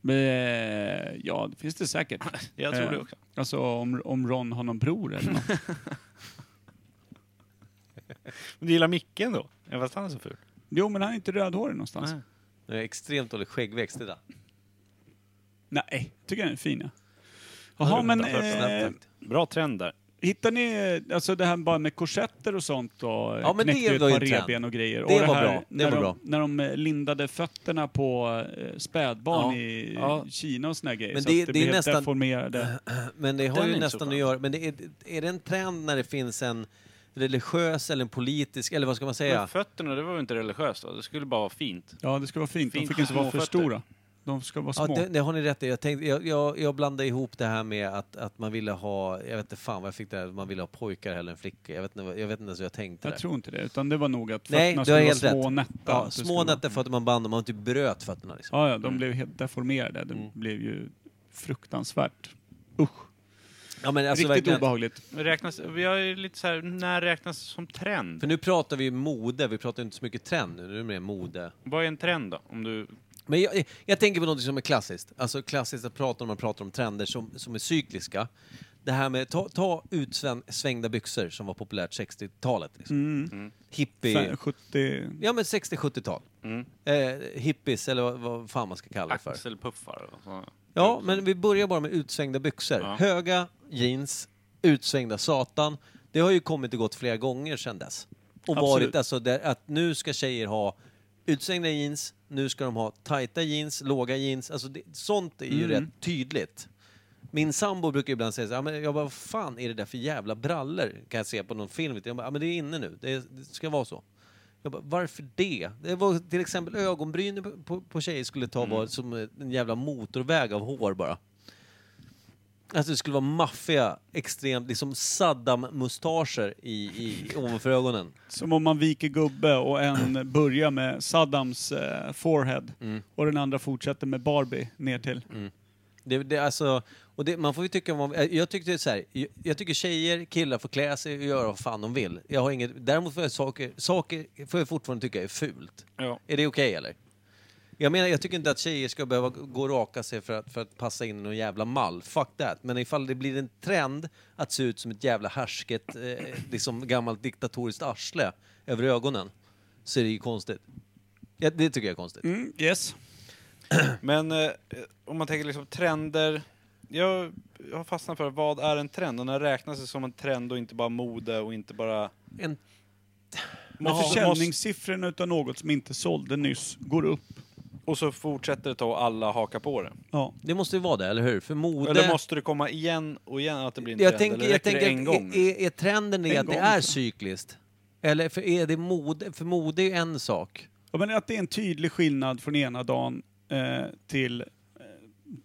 Men, eh, ja, det finns
[LAUGHS]
det säkert.
Jag tror
Eh,
det också.
Alltså om, om Ron har någon
[LAUGHS]
bror eller något.
Men du gillar Micke ändå? Även fast han är så ful.
Jo, men han är inte rödhårig någonstans.
Nej.
det är extremt dålig skäggväxt det där.
Nej, tycker han är fin ja.
Ja,
Jaha,
det
men
var snabbt
eh,
sagt.
Bra trend där.
hittar ni eh, alltså det här bara med korsetter och sånt då?
Ja, men
Knäckte
det
ju ett
var ju
par
en trend.
revben och grejer. och
Det var
här,
bra, det
när
var
de,
bra.
När de eh, lindade fötterna på eh, spädbarn
Ja,
i
ja.
Kina och såna grejer.
Men
så
det-
att det,
det är
blev
nästan-
deformerade.
Men det har
Den
ju
är inte så
nästan
skön.
att göra... Men det är, är det en trend när det finns en religiös eller en politisk, eller vad ska man säga?
Men fötterna, det var ju inte religiöst då? Det skulle bara vara fint.
Ja, det ska vara fint. De
Fint
fick inte vara för
småfötter.
stora. De ska vara
Ja,
små.
det, det har ni rätt i. Jag, tänkte, jag, jag, jag blandade ihop det här med att, att man ville ha, jag vet inte fan vad jag fick där, man ville ha pojkar hellre än flickor. Jag vet inte, vad- jag vet inte ens hur jag tänkte
Jag
där.
tror inte det, utan det var nog att
Nej,
fötterna
du har
skulle vara
helt
små
rätt.
och nätta.
Ja,
Att det
små
skulle vara-
nätter för att man band dem, man typ bröt fötterna liksom.
Ja, ja, de blev helt deformerade.
Mm.
Det blev ju fruktansvärt. Usch.
Ja, men alltså
Riktigt
verkligen.
obehagligt.
Räknas, vi har ju lite så här, när räknas det som trend?
För nu pratar vi ju mode, vi pratar ju inte så mycket trend nu, nu är det mer mode.
Vad är en trend då? Om du...
Men jag, jag tänker på något som är klassiskt. Alltså klassiskt att prata om, man pratar om trender som, som är cykliska. det här med, ta, ta utsvängda byxor som var populärt 60-talet. Liksom.
Mm. Mm.
Hippie...
Fem- 70...
Ja men 60-70-tal.
Mm.
Eh, hippies eller vad, vad fan man ska kalla det för.
Axelpuffar och så.
Ja, men vi börjar bara med utsvängda byxor.
Ja.
Höga jeans, utsvängda satan. Det har ju kommit och gått flera gånger sedan dess. Och
Absolut.
varit alltså där, att nu ska tjejer ha utsvängda jeans, nu ska de ha tajta jeans, låga jeans. Alltså det, sånt är
Mm.
ju rätt tydligt. Min sambo brukar ibland säga så här, "Ja, men jag bara, vad fan är det där för jävla brallor? Kan jag se på någon film? Jag bara, "Ja, men det är inne nu, det, är, det ska vara så. Jag bara, varför det? Det var till exempel ögonbrynen på, på, på tjejer skulle ta var som en jävla motorväg av hår bara. Alltså det skulle vara maffiga, extremt, liksom Saddam-mustascher i, i, ovanför ögonen.
Som om man viker gubbe och
[CLEARS THROAT]
en börjar med Saddams eh, forehead
Mm.
och den andra fortsätter med Barbie ner till.
Det, det, är alltså, och det, man får ju tycka vad man, jag, tyckte så här, jag, jag tycker tjejer, killar får klä sig och göra vad fan de vill. Jag har inget, däremot får jag saker, saker får jag fortfarande tycka är fult.
Ja.
Är det okej eller? Jag menar, jag tycker inte att tjejer ska behöva gå och raka sig för att, för att passa in i någon jävla mall. Fuck that. Men ifall det blir en trend att se ut som ett jävla härsket, eh, liksom gammalt diktatoriskt arsle över ögonen, så är det ju konstigt. Ja, det tycker jag är konstigt.
Mm, yes.
Men eh, om man tänker liksom trender. Jag, jag har fastnat för vad är en trend? Och när räknas det som en trend och inte bara mode och inte bara...
En
När
Måste-
försäljningssiffrorna utav något som inte sålde nyss går upp.
måste- Och så fortsätter det ta och alla hakar på det.
Ja.
Det måste ju vara det, eller hur? För mode...
Eller måste det komma igen och igen att det blir en
jag
trend?
tänker,
Eller
jag
räcker det
tänker
en gång?
att är, är trenden det
En
att det
gång,
är
så.
cykliskt? Eller för är det mode? För mode är ju en sak.
Ja, men att det är en tydlig skillnad från ena dagen eh, till eh,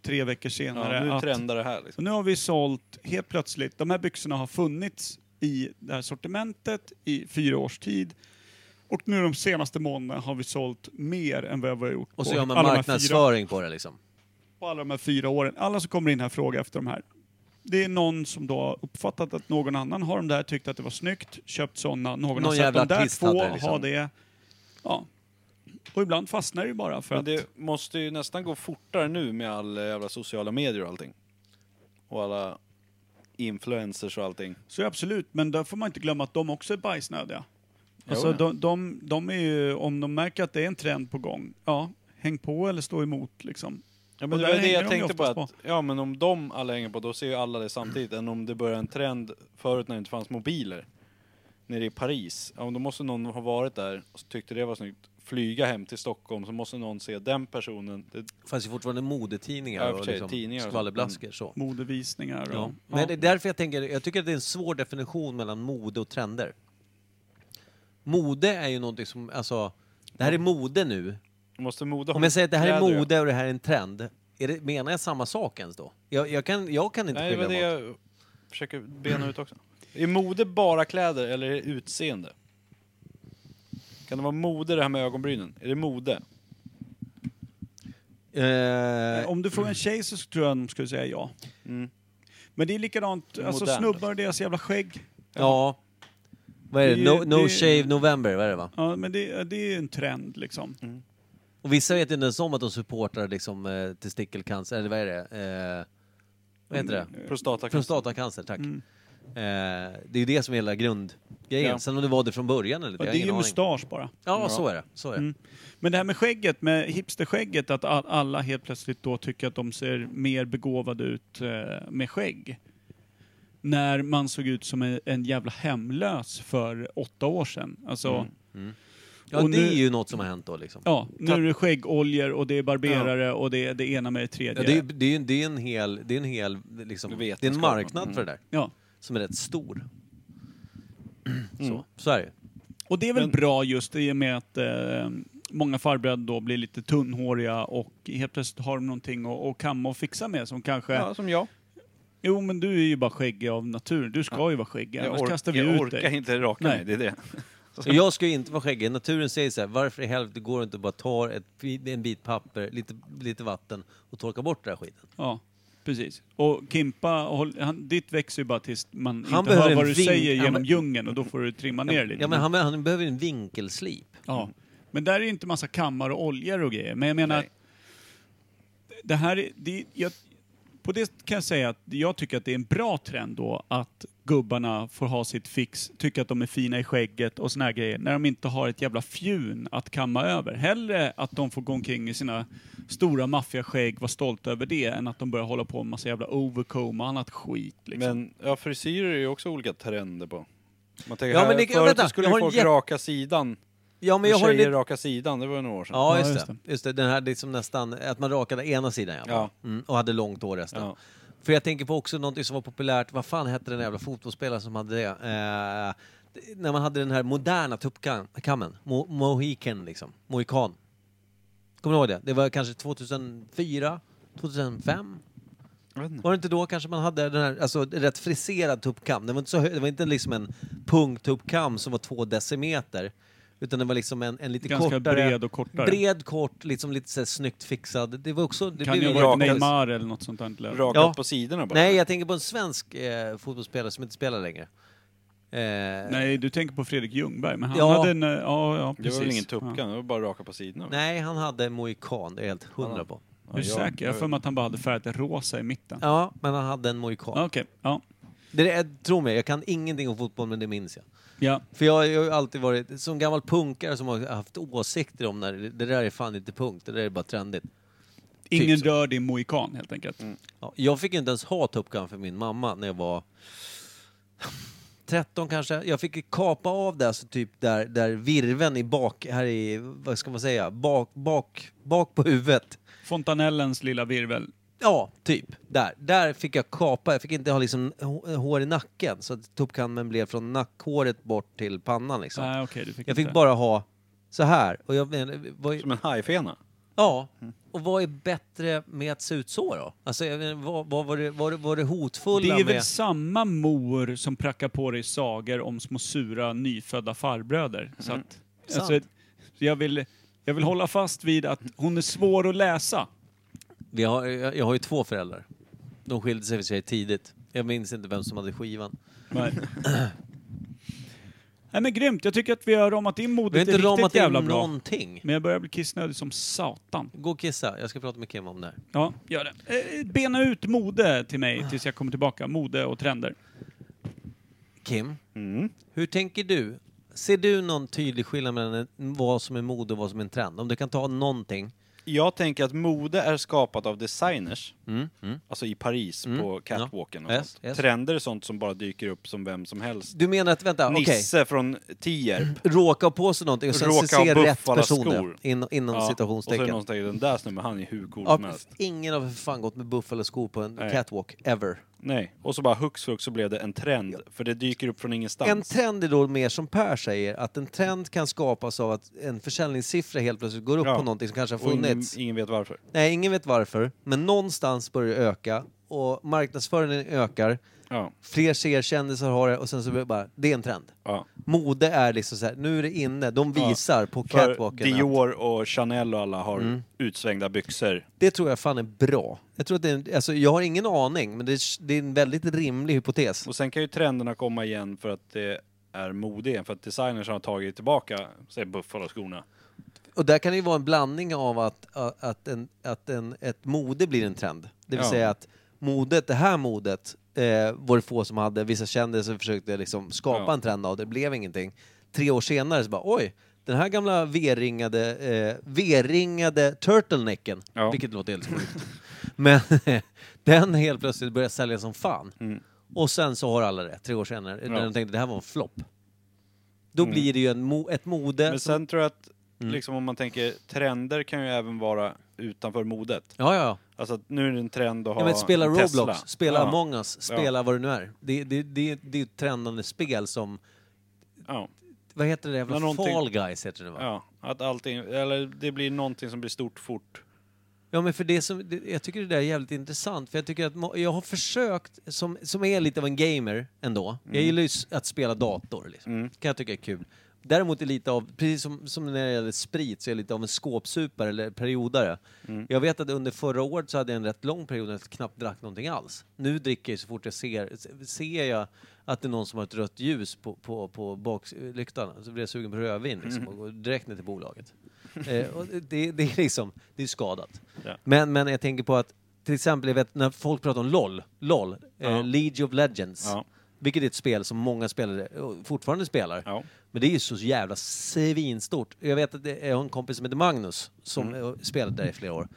tre veckor senare.
ja, nu
att,
trendar det här liksom.
och nu har vi sålt helt plötsligt, de här byxorna har funnits i det här sortimentet i fyra års tid. Och nu de senaste månaderna har vi sålt mer än vad vi har gjort
Och så
på
gör man
alla de här fyra
marknadsföring på det liksom.
på alla de här fyra åren. Alla som kommer in här frågar efter de här. Det är någon som då har uppfattat att någon annan har de där, tyckt att det var snyggt, köpt sådana. Någon,
Någon
har sett
jävla
de där
artist
två,
hade det liksom.
har det. Ja. Och ibland fastnar det ju bara för
Men
att...
det måste ju nästan gå fortare nu med all eh, jävla sociala medier och allting. Och alla influencers och allting.
Så absolut, men där får man inte glömma att de också är bajsnödiga.
Jo,
Alltså
ja.
de, de, de är ju, om de märker att det är en trend på gång, ja, häng på eller stå emot liksom.
Ja,
Och
men det
där
var ju det
hänger
jag
de ju
tänkte på, att,
oftast
Ja men om de alla hänger på, då ser ju alla det samtidigt. Än om det börjar en trend förut när det inte fanns mobiler. Nere i Paris. Ja, men då måste någon ha varit där och tyckte det var snyggt. Flyga hem till Stockholm, så måste någon se den personen. Det,
Det fanns ju fortfarande modetidningar
Ja, i och
och
för sig,
liksom
tidningar och Mm.
skvallerblasker. Så.
Modevisningar och...
Ja. Men det är därför jag tänker, jag tycker att det är en svår definition mellan mode och trender. Mode är ju någonting som, alltså, det här är mode nu.
måste mode
Om
ha
jag säger att det här är
kläder, ja.
mode och det här är en trend, är det, menar jag samma sak ens då? Jag, jag, kan, jag kan inte
Nej, det
skilja
var det
dem åt.
jag försöker bena ut också. Är mode bara kläder eller är det utseende? Kan det vara mode det här med ögonbrynen? Är det mode?
Eh,
Om du frågar en tjej så tror jag de skulle säga ja.
Mm.
Men det är likadant, alltså
Modernt.
snubbar och deras jävla skägg.
Ja. Vad är det?
Det är
No,
ju-
no
det är-
shave november, vad är det va?
Ja, men det, det är ju en trend liksom.
Mm.
Och vissa vet inte ens om att de supportar liksom eh, testikelcancer, eller vad är det? Eh, vad heter det?
Mm, eh,
Prostatacancer.
Prostatacancer, tack. Eh, det är ju det som är hela grundgrejen.
Ja.
Sen om det var det från början eller inte, jag
Ja, det
har
är ju
ingen aning.
mustasch bara.
Ja, så är det. Så är det.
Mm. Men det här med skägget, med hipsterskägget, att all, alla helt plötsligt då tycker att de ser mer begåvade ut eh, med skägg. När man såg ut som en, en jävla hemlös för åtta år sedan. Alltså,
Mm.
Ja,
Och
det
nu-
är ju något som har hänt då liksom.
ja, nu är det skäggoljor och det är barberare och det är det ena med det tredje.
Ja, det, är, det, är, ju- det är en hel, det är en hel liksom, det är en
Vetenskap.
marknad för det där.
Ja.
Som är rätt stor.
Mm.
Så, så är det ju.
Och det är väl bra just i och med att eh, många farbröder då blir lite tunnhåriga och helt plötsligt har de någonting att, att kamma och fixa med som kanske...
Ja, som jag.
Jo, men du är ju bara skäggig av natur. Du ska ju vara skäggig,
Jag,
annars
ork-
kastar vi
jag
ut
orkar
dig.
inte raka
Nej.
mig, det är det.
Och Jag ska ju inte vara skäggig. Naturen säger så här, varför i helvete går det inte att bara ta ett, en bit papper, lite, lite vatten och torka bort den här skiten?
Ja, precis. Och Kimpa, håll- han, ditt växer ju bara tills man
Han
inte
behöver
hör vad
en
du
vink.
säger
Ja,
genom
men-
djungeln och då får du trimma ner lite.
Ja, men han, han behöver en vinkelslip.
Ja. Men där är ju inte massa kammar och oljor och grejer. Men jag menar, att det här är, det, jag, På det kan jag säga att jag tycker att det är en bra trend då att gubbarna får ha sitt fix, tycker att de är fina i skägget och såna här grejer, när de inte har ett jävla fjun att kamma över. Hellre att de får gå omkring i sina stora maffiaskägg, vara stolta över det, än att de börjar hålla på med massa jävla overcomb och annat skit. Liksom.
Men ja, frisyrer är ju också olika trender på. Man tänker,
Ja,
ja,
men
men
det-
förut
vänta,
så skulle
jag har
ju
en
folk
jätte-
raka sidan.
Ja, men jag har en
tjejer
lit-
raka sidan, det var ju några år sedan.
Ja, just,
just
det. just det. Den här liksom nästan, att man rakade ena sidan ja. bara. Mm, och hade långt hår resten.
Ja.
För jag tänker på också någonting som var populärt, vad fan hette den jävla fotbollsspelaren som hade det? Eh, det- när man hade den här moderna tuppkammen, Mo- mohiken liksom, mohikan. Kommer ni ihåg det? Det var kanske 2004, 2005?
Jag vet inte.
Var det inte då kanske man hade den här, alltså rätt friserad tuppkam? Den var inte, så hö- det var inte liksom en punktuppkam som var två decimeter. Utan det var liksom en, en lite
Ganska
kortare...
bred och kortare.
Bred, kort, liksom lite så här snyggt fixad. Det var också... Det
kan
blev
ju
ju
vara
rakt-
Neymar eller något sånt där. Rakt.
Rakat
Ja.
på sidorna bara.
Nej, jag tänker på en svensk eh, fotbollsspelare som inte spelar längre. Eh,
Nej, du tänker på Fredrik Ljungberg, men han
Ja.
hade en... eh, Ja, ja,
det
precis.
var väl ingen tuppkam,
Ja.
det var bara raka på sidorna.
nej, han hade mohikan, det är jag helt hundra på.
Är du
Ja,
säker? Jag har
jag-
för mig att han bara hade färgat det rosa i mitten.
Ja, men han hade en mohikan.
Okej, ja.
Det är, tro mig, jag kan ingenting om fotboll men det minns jag.
ja.
För jag, jag har ju alltid varit, som gammal punkare som har haft åsikter om när det där är fan inte punk, det där är bara trendigt.
Ingen
Typ så. Mm.
rör din mohikan helt enkelt.
Ja, jag fick ju inte ens ha Top Gun för min mamma när jag var 13 kanske. Jag fick ju kapa av det, alltså typ där, där virven i bak, här i, vad ska man säga, bak, bak, bak på huvudet.
Fontanellens lilla virvel.
Ja, typ. Där. Där fick jag kapa. Jag fick inte ha liksom h- hår i nacken. Så att tuppkammen blev från nackhåret bort till pannan liksom.
Nej, okej, du fick
Jag fick
inte.
bara ha så här. Och jag menar, vad,
Som en hajfena.
Ja,
Mm.
och vad är bättre med att se ut så då? Alltså, jag menar, vad, vad var, det, var, det, var det hotfulla
Det är väl
med...
samma mor som prackar på dig sagor om små sura nyfödda farbröder. Så att, alltså,
Mm. Sant.
jag, vill, jag vill hålla fast vid att hon är svår att läsa.
Vi har, jag, jag har ju två föräldrar. De skilde sig för sig tidigt. Jag minns inte vem som hade skivan.
Nej.
[CLEARS THROAT]
Nej men grymt, jag tycker att vi har ramat in
Vi har
modet
inte ramat
riktigt
in
jävla bra.
någonting.
Men jag börjar bli kissnödig som satan.
Gå och kissa, jag ska prata med Kim om det här.
Ja, gör det. Eh, Bena ut mode till mig tills jag kommer tillbaka. Mode och trender.
Kim,
Mm.
hur tänker du? Ser du någon tydlig skillnad mellan en- vad som är mode och vad som är en trend? Om du kan ta någonting.
Jag tänker att mode är skapat av designers.
Mm. Mm.
Alltså i Paris
Mm,
på catwalken och
ja. Yes,
sånt.
yes.
Trender är sånt som bara dyker upp som vem som helst.
Du menar att, vänta, okej.
Nisse från
[CLEARS THROAT]
Tierp.
Råka ha på sig någonting och sen
Råka ha
se rätt
Buffalo
personer.
skor.
In, inom
Och så är
citationstecken.
det någon som tänker, den där snubben, han är hur cool
Ja,
som helst.
ingen har för fan gått med Buffalo-skor på en
Nej.
catwalk, ever.
Nej. Och så bara hux flux så blev det en trend. För det dyker upp från ingenstans.
En trend är då mer som Per säger, att en trend kan skapas av att en försäljningssiffra helt plötsligt går upp
Ja.
på någonting som kanske har
Och ingen,
funnits.
ingen vet varför.
Nej, ingen vet varför, men någonstans börjar det öka och marknadsföringen ökar.
Ja.
Fler ser kändisar har det och sen så blir det bara, det är en trend.
ja.
Mode är liksom så här, nu är det inne, de
Ja.
visar på
För
catwalken. Mm. att-
Dior och Chanel och alla har utsvängda byxor.
Det tror jag fan är bra. Jag tror att det är, en- alltså, jag har ingen aning, men det är, det är en väldigt rimlig hypotes.
Och sen kan ju trenderna komma igen för att det är mode igen. För att designers har tagit tillbaka, säg Buffalo-skorna.
Och där kan det ju vara en blandning av att, att, en, att en, ett mode blir en trend. Det vill
Ja.
säga att modet, det här modet eh, var det få som hade. Vissa kändisar försökte liksom skapa
Ja.
en trend av det, det blev ingenting. Tre år senare så bara oj, den här gamla V-ringade, eh, V-ringade turtlenecken,
Ja.
vilket låter helt sjukt. [LAUGHS] Men den helt plötsligt började sälja som fan.
Mm.
Och sen så har alla det, tre år senare, när de tänkte det här var en flopp. Då blir det ju en mo- ett mode
Mm. Men
som
sen tror jag att, liksom om man tänker, trender kan ju även vara utanför modet.
Ja, ja, ja.
Alltså att nu är det en trend att ha
Ja, men spela
en
Roblox,
Tesla.
spela
ja.
Among Us, spela vad det nu är. Det, det, det, det är ett trendande spel som...
Ja.
Vad heter det? Jävla
Men någonting-
Fall Guys heter det va? Ja,
ja, att allting, eller det blir någonting som blir stort fort.
men för det som... Det, jag tycker det där är jävligt intressant. För jag tycker att må- jag har försökt, som, som är lite av en gamer ändå. Jag gillar ju s- att spela dator liksom. Kan jag tycka är kul. Däremot är lite av, precis som, som när det gäller sprit, så är jag lite av en skåpsupare eller periodare. Jag vet att under förra året så hade jag en rätt lång period när jag knappt drack någonting alls. Nu dricker jag ju så fort jag ser, ser jag att det är någon som har ett rött ljus på, på, på baklyktan så blir jag sugen på rödvin liksom, och går direkt ner till
[LAUGHS]
bolaget. eh, och det, det är liksom, det är skadat.
Ja.
Men, men jag tänker på att till exempel, jag vet när folk pratar om LOL, LOL,
Ja.
eh, League of Legends.
Ja.
Vilket är ett spel som många spelare eh, fortfarande spelar. Men det är ju så jävla svinstort. Jag vet att det- jag har en kompis som heter Magnus som
Mm.
eh, spelade där i flera år.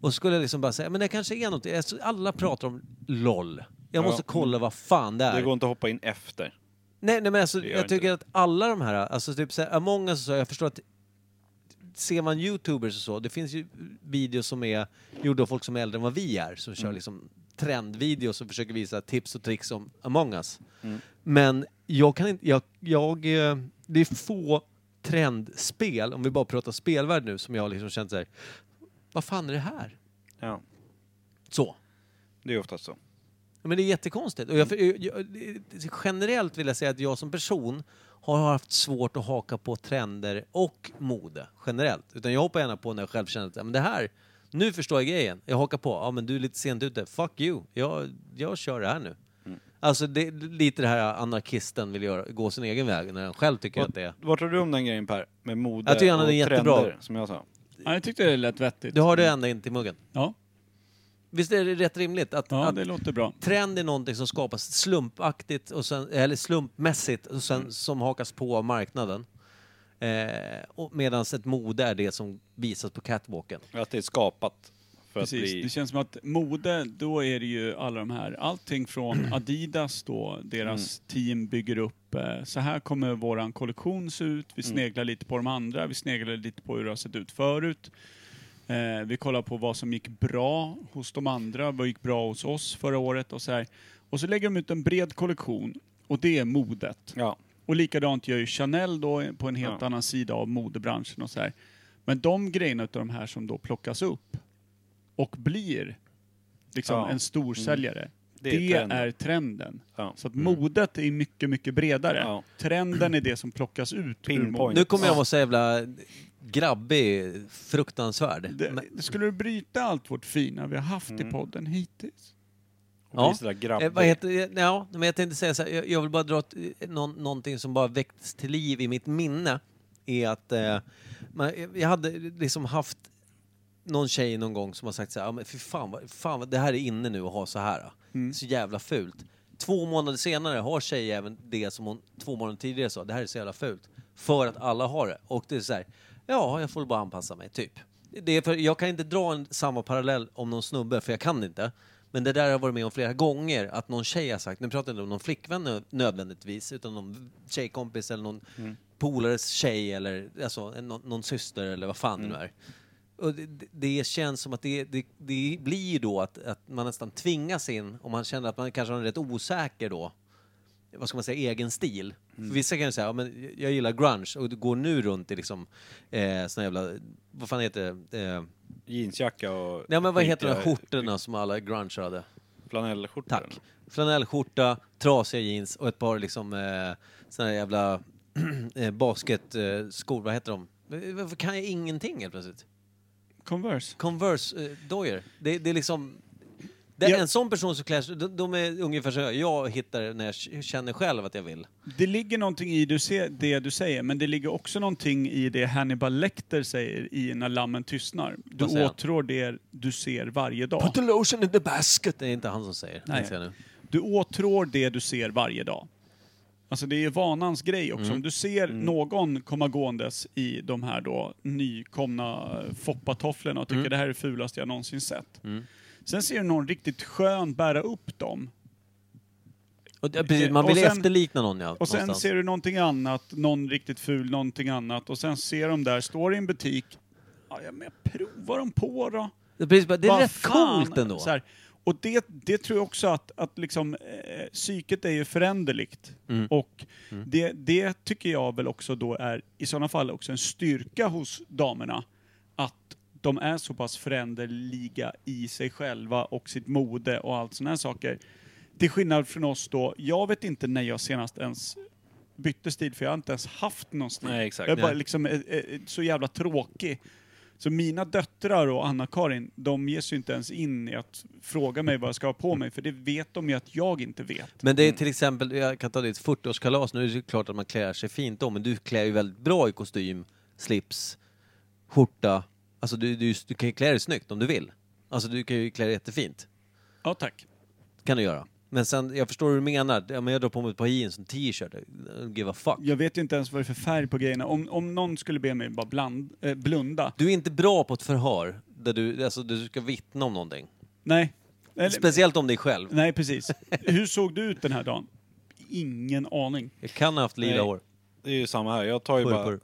Och så skulle jag liksom bara säga, men det kanske är något. Jag- Alla pratar om LOL. Jag
Ja.
måste kolla vad fan det är.
Det går inte att hoppa in efter.
Nej, nej men alltså,
Det gör
jag
inte
tycker att alla de här, alltså typ såhär, Among us och så, jag förstår att ser man youtubers och så, det finns ju videos som är gjorda av folk som är äldre än vad vi är, som kör
Mm.
liksom trendvideos och försöker visa tips och tricks om Among us.
Mm.
Men jag kan inte, jag, jag, eh, det är få trendspel, om vi bara pratar spelvärld nu, som jag har liksom känt såhär, vad fan är det här?
Ja.
Så.
Det är oftast så.
Men det är jättekonstigt. Och jag, jag, jag, generellt vill jag säga att jag som person har haft svårt att haka på trender och mode generellt. Utan jag hoppar gärna på när jag själv känner att ja, men det här, nu förstår jag grejen. Jag hakar på. Ja men du är lite sent ute. Fuck you. Jag, jag kör det här nu.
Mm.
Alltså det, lite det här anarkisten vill göra, gå sin egen väg när han själv tycker att det är...
Vad tror du om den grejen Per? Med mode
Jag tycker han
och
är jättebra.
trender, som jag sa.
Ja, jag tyckte det lät vettigt.
Du har det ända in till muggen.
Ja,
Visst är det rätt rimligt att,
ja
att
det låter bra.
Trend är någonting som skapas slumpaktigt, och sen, eller slumpmässigt, och sen,
Mm.
som hakas på av marknaden. Eh, Medan ett mode är det som visas på catwalken.
Att det är skapat för att
Precis.
bli...
Det känns som att mode, då är det ju alla de här,
[CLEARS THROAT]
allting från Adidas då, deras
Mm.
team bygger upp, eh, så här kommer våran kollektion se ut, vi
Mm.
sneglar lite på de andra, vi sneglar lite på hur det har sett ut förut. Eh, vi kollar på vad som gick bra hos de andra, vad gick bra hos oss förra året och så här. Och så lägger de ut en bred kollektion och det är modet.
Ja.
Och likadant gör ju Chanel då på en helt
Ja.
annan sida av modebranschen och så här. Men de grejerna utav de här som då plockas upp och blir liksom
Ja. Mm.
en storsäljare. Det,
Det är
är
trenden.
trenden.
Ja. Mm.
Så att modet är mycket, mycket bredare.
Ja.
Trenden är det som plockas ut ur
Pinpoint.
modet.
Nu kommer jag vara så jävla grabbig, fruktansvärd.
Det,
Men-
det skulle du bryta allt vårt fina vi har haft
Mm.
i podden hittills?
Och bli sådär grabbig.
Eh, vad heter, ja, men jag tänkte säga så här, jag, jag vill bara dra ett, eh, någon, någonting som bara väcktes till liv i mitt minne. Är att eh, man, jag hade liksom haft någon tjej någon gång som har sagt så här, "Ja, men fy fan, vad, fan vad, det här är inne nu att ha så här. då. Det är Så jävla fult. Två månader senare har tjejer även det som hon två månader tidigare sa, det här är så jävla fult. För att alla har det. Och det är så här, ja, jag får bara anpassa mig, typ. Det är för, jag kan inte dra en, samma parallell om någon snubbe, för jag kan inte. Men det där har jag varit med om flera gånger, att någon tjej har sagt, nu pratar jag inte om någon flickvän nö- nödvändigtvis, utan någon tjejkompis eller någon polares tjej eller alltså, en- någon, någon syster eller vad fan det nu är. Och det- det, det känns som att det, det, det blir ju då att, att man nästan tvingas in, om man känner att man kanske har en rätt osäker då, vad ska man säga, egen stil. För vissa kan ju säga, ja, men jag gillar grunge och det går nu runt i liksom eh, såna jävla, vad fan heter det? Eh,
Jeansjacka och...
nej men vad heter de här
skitiga
skjortorna som alla grunge hade?
Flanellskjortor.
Tack. Flanellskjorta, trasiga jeans och ett par liksom eh, såna här jävla [CLEARS THROAT] eh, basketskor, eh, skor. vad heter de? Eh, Varför kan jag ingenting helt plötsligt?
Converse.
Converse eh, dojer. Det, det är liksom... Det är
Ja.
En sån person som klär sig, de, de är ungefär så jag, jag hittar när jag k- känner själv att jag vill.
Det ligger någonting i du se- det du säger, men det ligger också någonting i det Hannibal Lecter säger i När lammen tystnar. Du
Vad säger han?
åtrår det du ser varje dag.
the lotion in the basket! Det är inte han som säger.
Nej.
Nej. Jag nu.
Du åtrår det du ser varje dag. Alltså det är vanans grej
Mm.
också. Om du ser någon komma gåendes i de här då nykomna eh, foppatofflorna och tycker
Mm.
det här är det fulaste jag någonsin sett. Sen ser du någon riktigt skön bära upp dem
Och, det- precis, man
Och
vill
sen-
efterlikna någon ja,
Och sen
någonstans.
ser du någonting annat, någon riktigt ful, någonting annat och sen ser de där, står i en butik. Ja, ja, men jag provar dem på då.
Det är precis bara- det är
Vad
rätt
fan?
coolt ändå.
Så här. Och det, det tror jag också att, att liksom, eh, psyket är ju föränderligt.
Mm.
Och Det, det tycker jag väl också då är i sådana fall också en styrka hos damerna. Att de är så pass föränderliga i sig själva och sitt mode och allt sådana här saker. Till skillnad från oss då, jag vet inte när jag senast ens bytte stil för jag har inte ens haft någon stil.
Nej, exakt.
jag är bara
Nej.
liksom eh, eh, så jävla tråkig. Så mina döttrar och Anna-Karin, de ger sig inte ens in i att fråga mig vad jag ska ha på mig, för det vet de ju att jag inte vet.
Men det är till exempel, jag kan ta ditt 40-årskalas, nu är det ju klart att man klär sig fint då, men du klär ju väldigt bra i kostym, slips, skjorta. Alltså du, du, du kan ju klä dig snyggt om du vill. Alltså du kan ju klä dig jättefint.
Ja, tack.
kan du göra. Men sen, jag förstår hur du menar. Ja, men jag drar på mig ett par jeans och en t-shirt. I don't Give a fuck.
Jag vet ju inte ens vad det är för färg på grejerna. Om, om någon skulle be mig bara bland, eh, blunda.
Du är inte bra på ett förhör där du, alltså, du ska vittna om någonting.
Nej. Eller-
Speciellt om dig själv.
Nej, precis. Hur såg du ut den här dagen? Ingen aning.
Jag kan ha haft lila
Nej.
hår.
Det är ju samma här. Jag tar ju
Purr,
bara...
purr.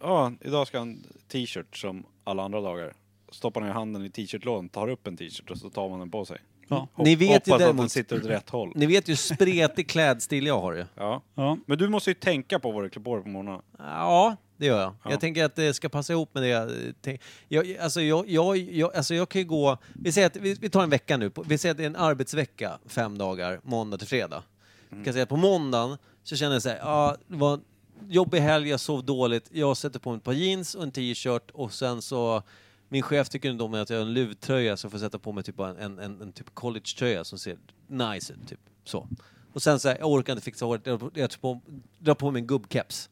Ja, idag ska jag ha en t-shirt som alla andra dagar. Stoppar ner handen i t-shirtlådan, tar upp en t-shirt och så tar man den på sig.
Ja.
Hopp,
Ni vet ju
hoppas att den
däremot-
sitter åt rätt håll.
Ni vet ju hur spretig klädstil jag har ju.
Ja.
Ja.
Men du måste ju tänka på vad du klär på dig på morgonen.
Ja, det gör jag.
Ja.
Jag tänker att det ska passa ihop med det jag tänk- jag, alltså jag, jag, jag, alltså jag kan ju gå... Vi säger att vi, vi tar en vecka nu. på- Vi säger att det är en arbetsvecka, fem dagar, måndag till fredag. Jag kan säga att på måndagen så känner jag så här, ja, det var en jobbig helg, jag sov dåligt. Jag sätter på mig ett par jeans och en t-shirt och sen så... Min chef tycker inte om att jag har en luvtröja så jag får sätta på mig typ bara en, en, en typ collegetröja som ser nice ut, typ så. Och sen så här, jag orkar inte fixa håret, jag, jag tar på, drar på mig en gubbkeps.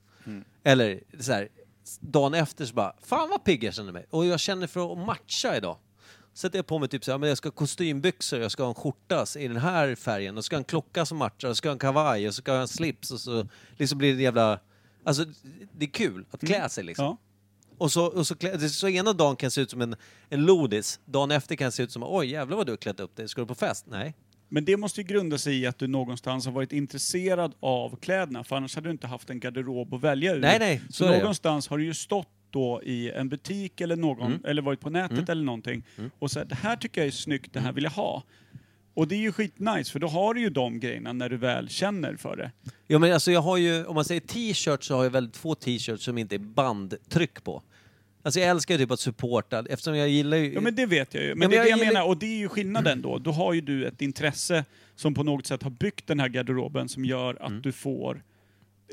Eller så här, dagen efter så bara, fan vad pigg jag känner mig. Och jag känner för att matcha idag. Sätter jag på mig typ så här, men jag ska ha kostymbyxor, jag ska ha en skjorta i den här färgen, och ska ha en klocka som matchar, och ska ha en kavaj, och ska ha en slips och så liksom blir det en jävla... Alltså det är kul att klä sig liksom.
Ja.
Och så, och så, klä, det- så ena dagen kan jag se ut som en, en lodis, dagen efter kan jag se ut som oj jävlar vad du har klätt upp dig, ska du på fest? Nej.
Men det måste ju grunda sig i att du någonstans har varit intresserad av kläderna, för annars hade du inte haft en garderob att välja ur.
Nej, nej,
så
så är det.
någonstans har du ju stått då i en butik eller någon,
Mm.
eller varit på nätet eller någonting och sagt det här tycker jag är snyggt,
Mm.
det här vill jag ha. Och det är ju skitnice, för då har du ju de grejerna när du väl känner för det.
Ja, men alltså jag har ju, om man säger t-shirts så har jag väldigt få t-shirts som inte är bandtryck på. Alltså jag älskar ju typ att supporta, eftersom jag gillar ju...
Ja men det vet jag ju. Men,
men
det är
jag
det jag
gillar-
menar, och det är ju skillnaden då. Då har ju du ett intresse som på något sätt har byggt den här garderoben som gör att
Mm.
du får,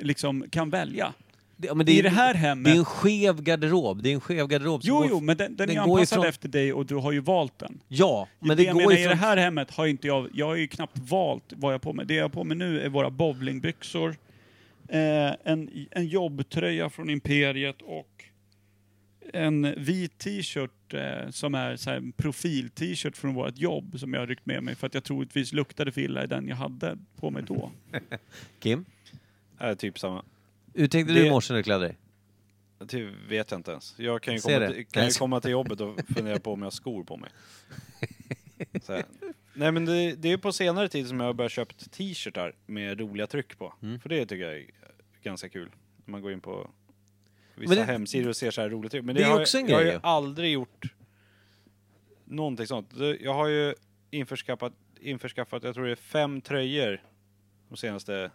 liksom kan välja.
det, ja, men
I
är-
det här hemmet
Det är en skev garderob, det är en skev garderob som
Jo,
går-
jo, men den, den, är
går ju
anpassad
från-
efter dig och du har ju valt den.
Ja, men det,
jag
går
menar,
ju
i
från...
det här hemmet har inte jag, jag har ju knappt valt vad jag har på mig. Det jag har på mig nu är våra bowlingbyxor, eh, en, en jobbtröja från Imperiet och en vit t-shirt eh, som är så här en profil-t-shirt från vårt jobb som jag har ryckt med mig för att jag troligtvis luktade för illa i den jag hade på mig då.
Kim,
Äh, typ samma.
hur tänkte
Det-
du i morse när du klädde dig?
Det vet jag inte ens. Jag kan ju
Ser
komma,
det.
till, kan
Nej.
ju komma till jobbet och fundera på om jag har skor
[LAUGHS]
på mig. Så här. Nej men det, det är ju på senare tid som jag har börjat köpt t-shirtar med roliga tryck på.
Mm.
För det tycker jag är ganska kul. När man går in på vissa
Men det-
hemsidor och ser så här roliga tryck. Men
Det
det,
är
har,
också
jag,
en
jag har
grej
ju
ju.
aldrig gjort någonting sånt. Det- Jag har ju införskaffat, införskaffat jag tror det är fem tröjor de senaste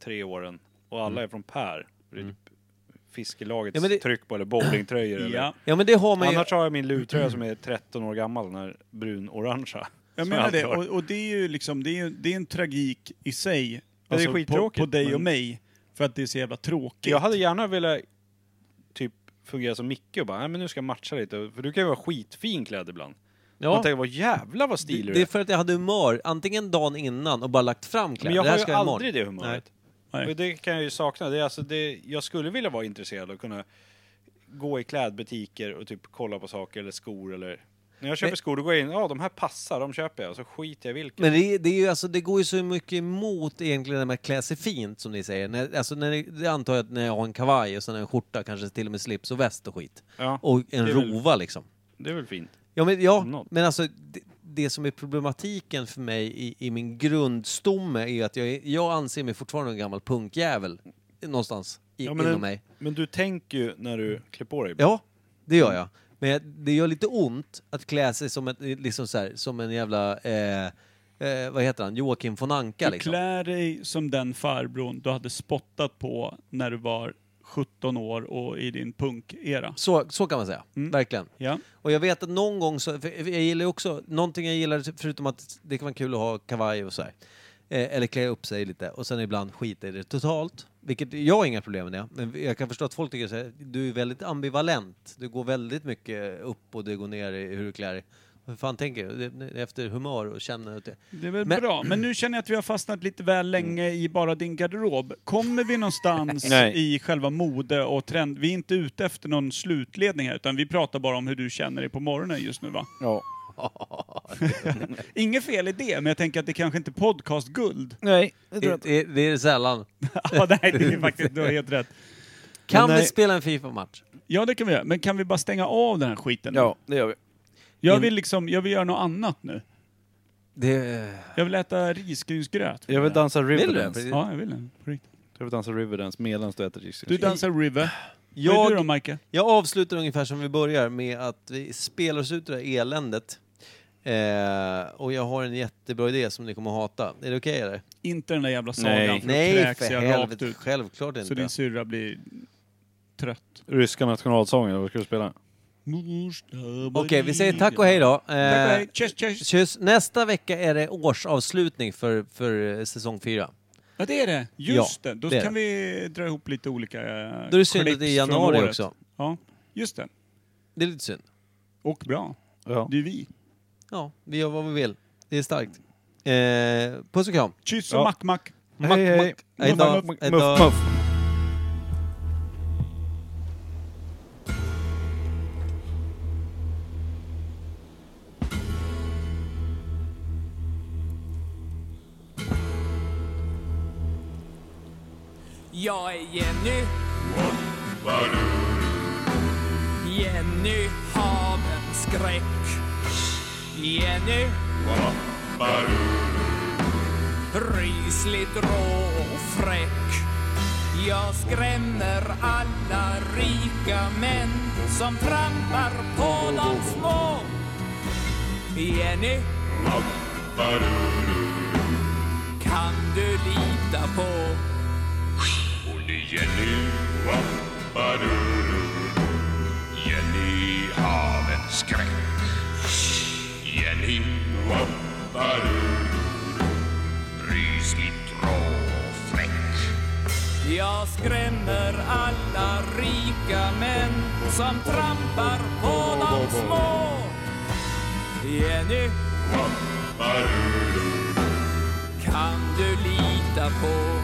tre åren. Och alla är från Per. Det är typ fiskelagets
Mm. Ja, men det-
tryck på
[CLEARS THROAT]
eller bowlingtröjor. eller-
Ja,
Ja men det har man ju...
Annars har jag
[CLEARS THROAT]
min luvtröja som är 13 år gammal, den här brun-orangea.
jag
Som
menar
alltid
det.
har.
Och, och det är ju liksom, det är, ju- det är en tragik i sig. Alltså,
det är
på,
skittråkigt,
på dig och
men-
mig. För att det är så jävla tråkigt.
Jag hade gärna velat typ fungera som Micke och bara, nej men nu ska jag matcha lite. För du kan ju vara skitfin klädd ibland.
Ja.
Man tänker, vad jävla vad
Det,
stilig du
det är för att jag hade humör, antingen dagen innan och bara lagt fram kläder.
Men jag
det här
har ju
ska jag imorgon.
aldrig det humöret.
Nej.
Och det kan jag ju sakna. Det är alltså det, jag skulle vilja vara intresserad och kunna gå i klädbutiker och typ kolla på saker eller skor eller... När jag köper
Men-
skor då går jag in, ja de här passar, de köper jag. Och så skiter jag i vilken.
Men det, är- det, är ju, alltså, det går ju så mycket emot egentligen det med att klä sig fint som ni säger. När, alltså, när det, det antar jag att när jag har en kavaj och sen en skjorta, kanske till och med slips och väst och skit.
Ja,
Och en
det är väl-
rova liksom.
Det är väl fint.
Ja, men, ja,
Om något.
men alltså det, det som är problematiken för mig i, i min grundstomme är ju att jag, är- jag anser mig fortfarande en gammal punkjävel någonstans i,
Ja,
inom
men, det-
mig.
men du tänker ju när du klär på dig.
Ja, det gör jag. Men jag- det gör lite ont att klä sig som, ett, liksom så här, som en jävla, eh, eh, vad heter han, Joakim von Anka
Du
liksom.
klär dig som den farbrorn du hade spottat på när du var 17 år och i din punkera.
Så, så kan man säga, verkligen.
Ja.
Och jag vet att någon gång så, för jag gillar ju också, någonting jag gillar förutom att det kan vara kul att ha kavaj och så här. Eh, eller klä upp sig lite och sen ibland skita i det totalt. Vilket jag har inga problem med det. Men jag kan förstå att folk tycker så här, du är väldigt ambivalent. Du går väldigt mycket upp och du går ner i hur du klär dig. Hur fan tänker du? Det- det- Efter humör och känner och det.
Det är väl
Men-
bra, men nu känner jag att vi har fastnat lite väl länge i bara din garderob. Kommer vi
[LAUGHS]
någonstans
Nej.
i själva mode och trend? Vi är inte ute efter någon slutledning här, utan vi pratar bara om hur du känner dig på morgonen just nu va?
Ja.
Inget fel i det, men jag tänker att det kanske inte är podcastguld. [LAUGHS]
Nej, det tror jag inte. Det, det är det sällan.
ja, nej, det är faktiskt, du har helt rätt.
Kan
Men,
vi
eh,
spela en Fifa-match?
Ja, det kan vi göra. Men kan vi bara stänga av den här skiten? Ja,
det gör vi.
Mm.
Jag vill liksom, jag vill göra något annat nu.
Det...
Jag vill äta risgrynsgröt.
Jag vill dansa Riverdance.
Ja, jag vill det. På riktigt.
Jag vill dansa Riverdance medan du äter cheesecake.
Du dansar River. Vad
Jag-
är du då, Mike?
Jag avslutar ungefär som vi börjar med att vi spelar oss ut ur det här eländet. Eh, och jag har en jättebra idé som ni kommer att hata. Är det okej eller?
Inte den där jävla sagan. för då
Nej
kräks
för
jag rakt
helvete,
ut.
självklart
Så din
inte.
syrra blir trött.
Ryska nationalsången, vad ska du spela?
Okej, vi säger tack och hej då. Eh,
Tack och hej. Tjus, tjus.
Kyss. Nästa vecka är det årsavslutning för, för eh, säsong fyra.
Ja, det är det. Just det. Då
det är
kan vi dra ihop lite olika eh,
Då är det synd att
klipp
det är i
från
januari
året.
också.
Ja, just det.
Det är lite synd.
Och bra.
Ja.
Det är vi.
Ja, vi gör vad vi vill. Det är starkt. Eh, puss och kram.
Kyss och
Ja.
mack-mack.
Hej, hej.
Hej då.
Muff,
Hej då.
muff, muff.
Jag är Jenny. Jenny har en skräck. Jenny. Rysligt rå och fräck. Jag skrämmer alla rika män som trampar på de små. Jenny. Kan du lita på
Jenny Wapparuru Jenny har en skräck Jenny Wapparuru Rysligt rå och fräck
Jag skrämmer alla rika män som trampar på de små. Jenny, kan du lita på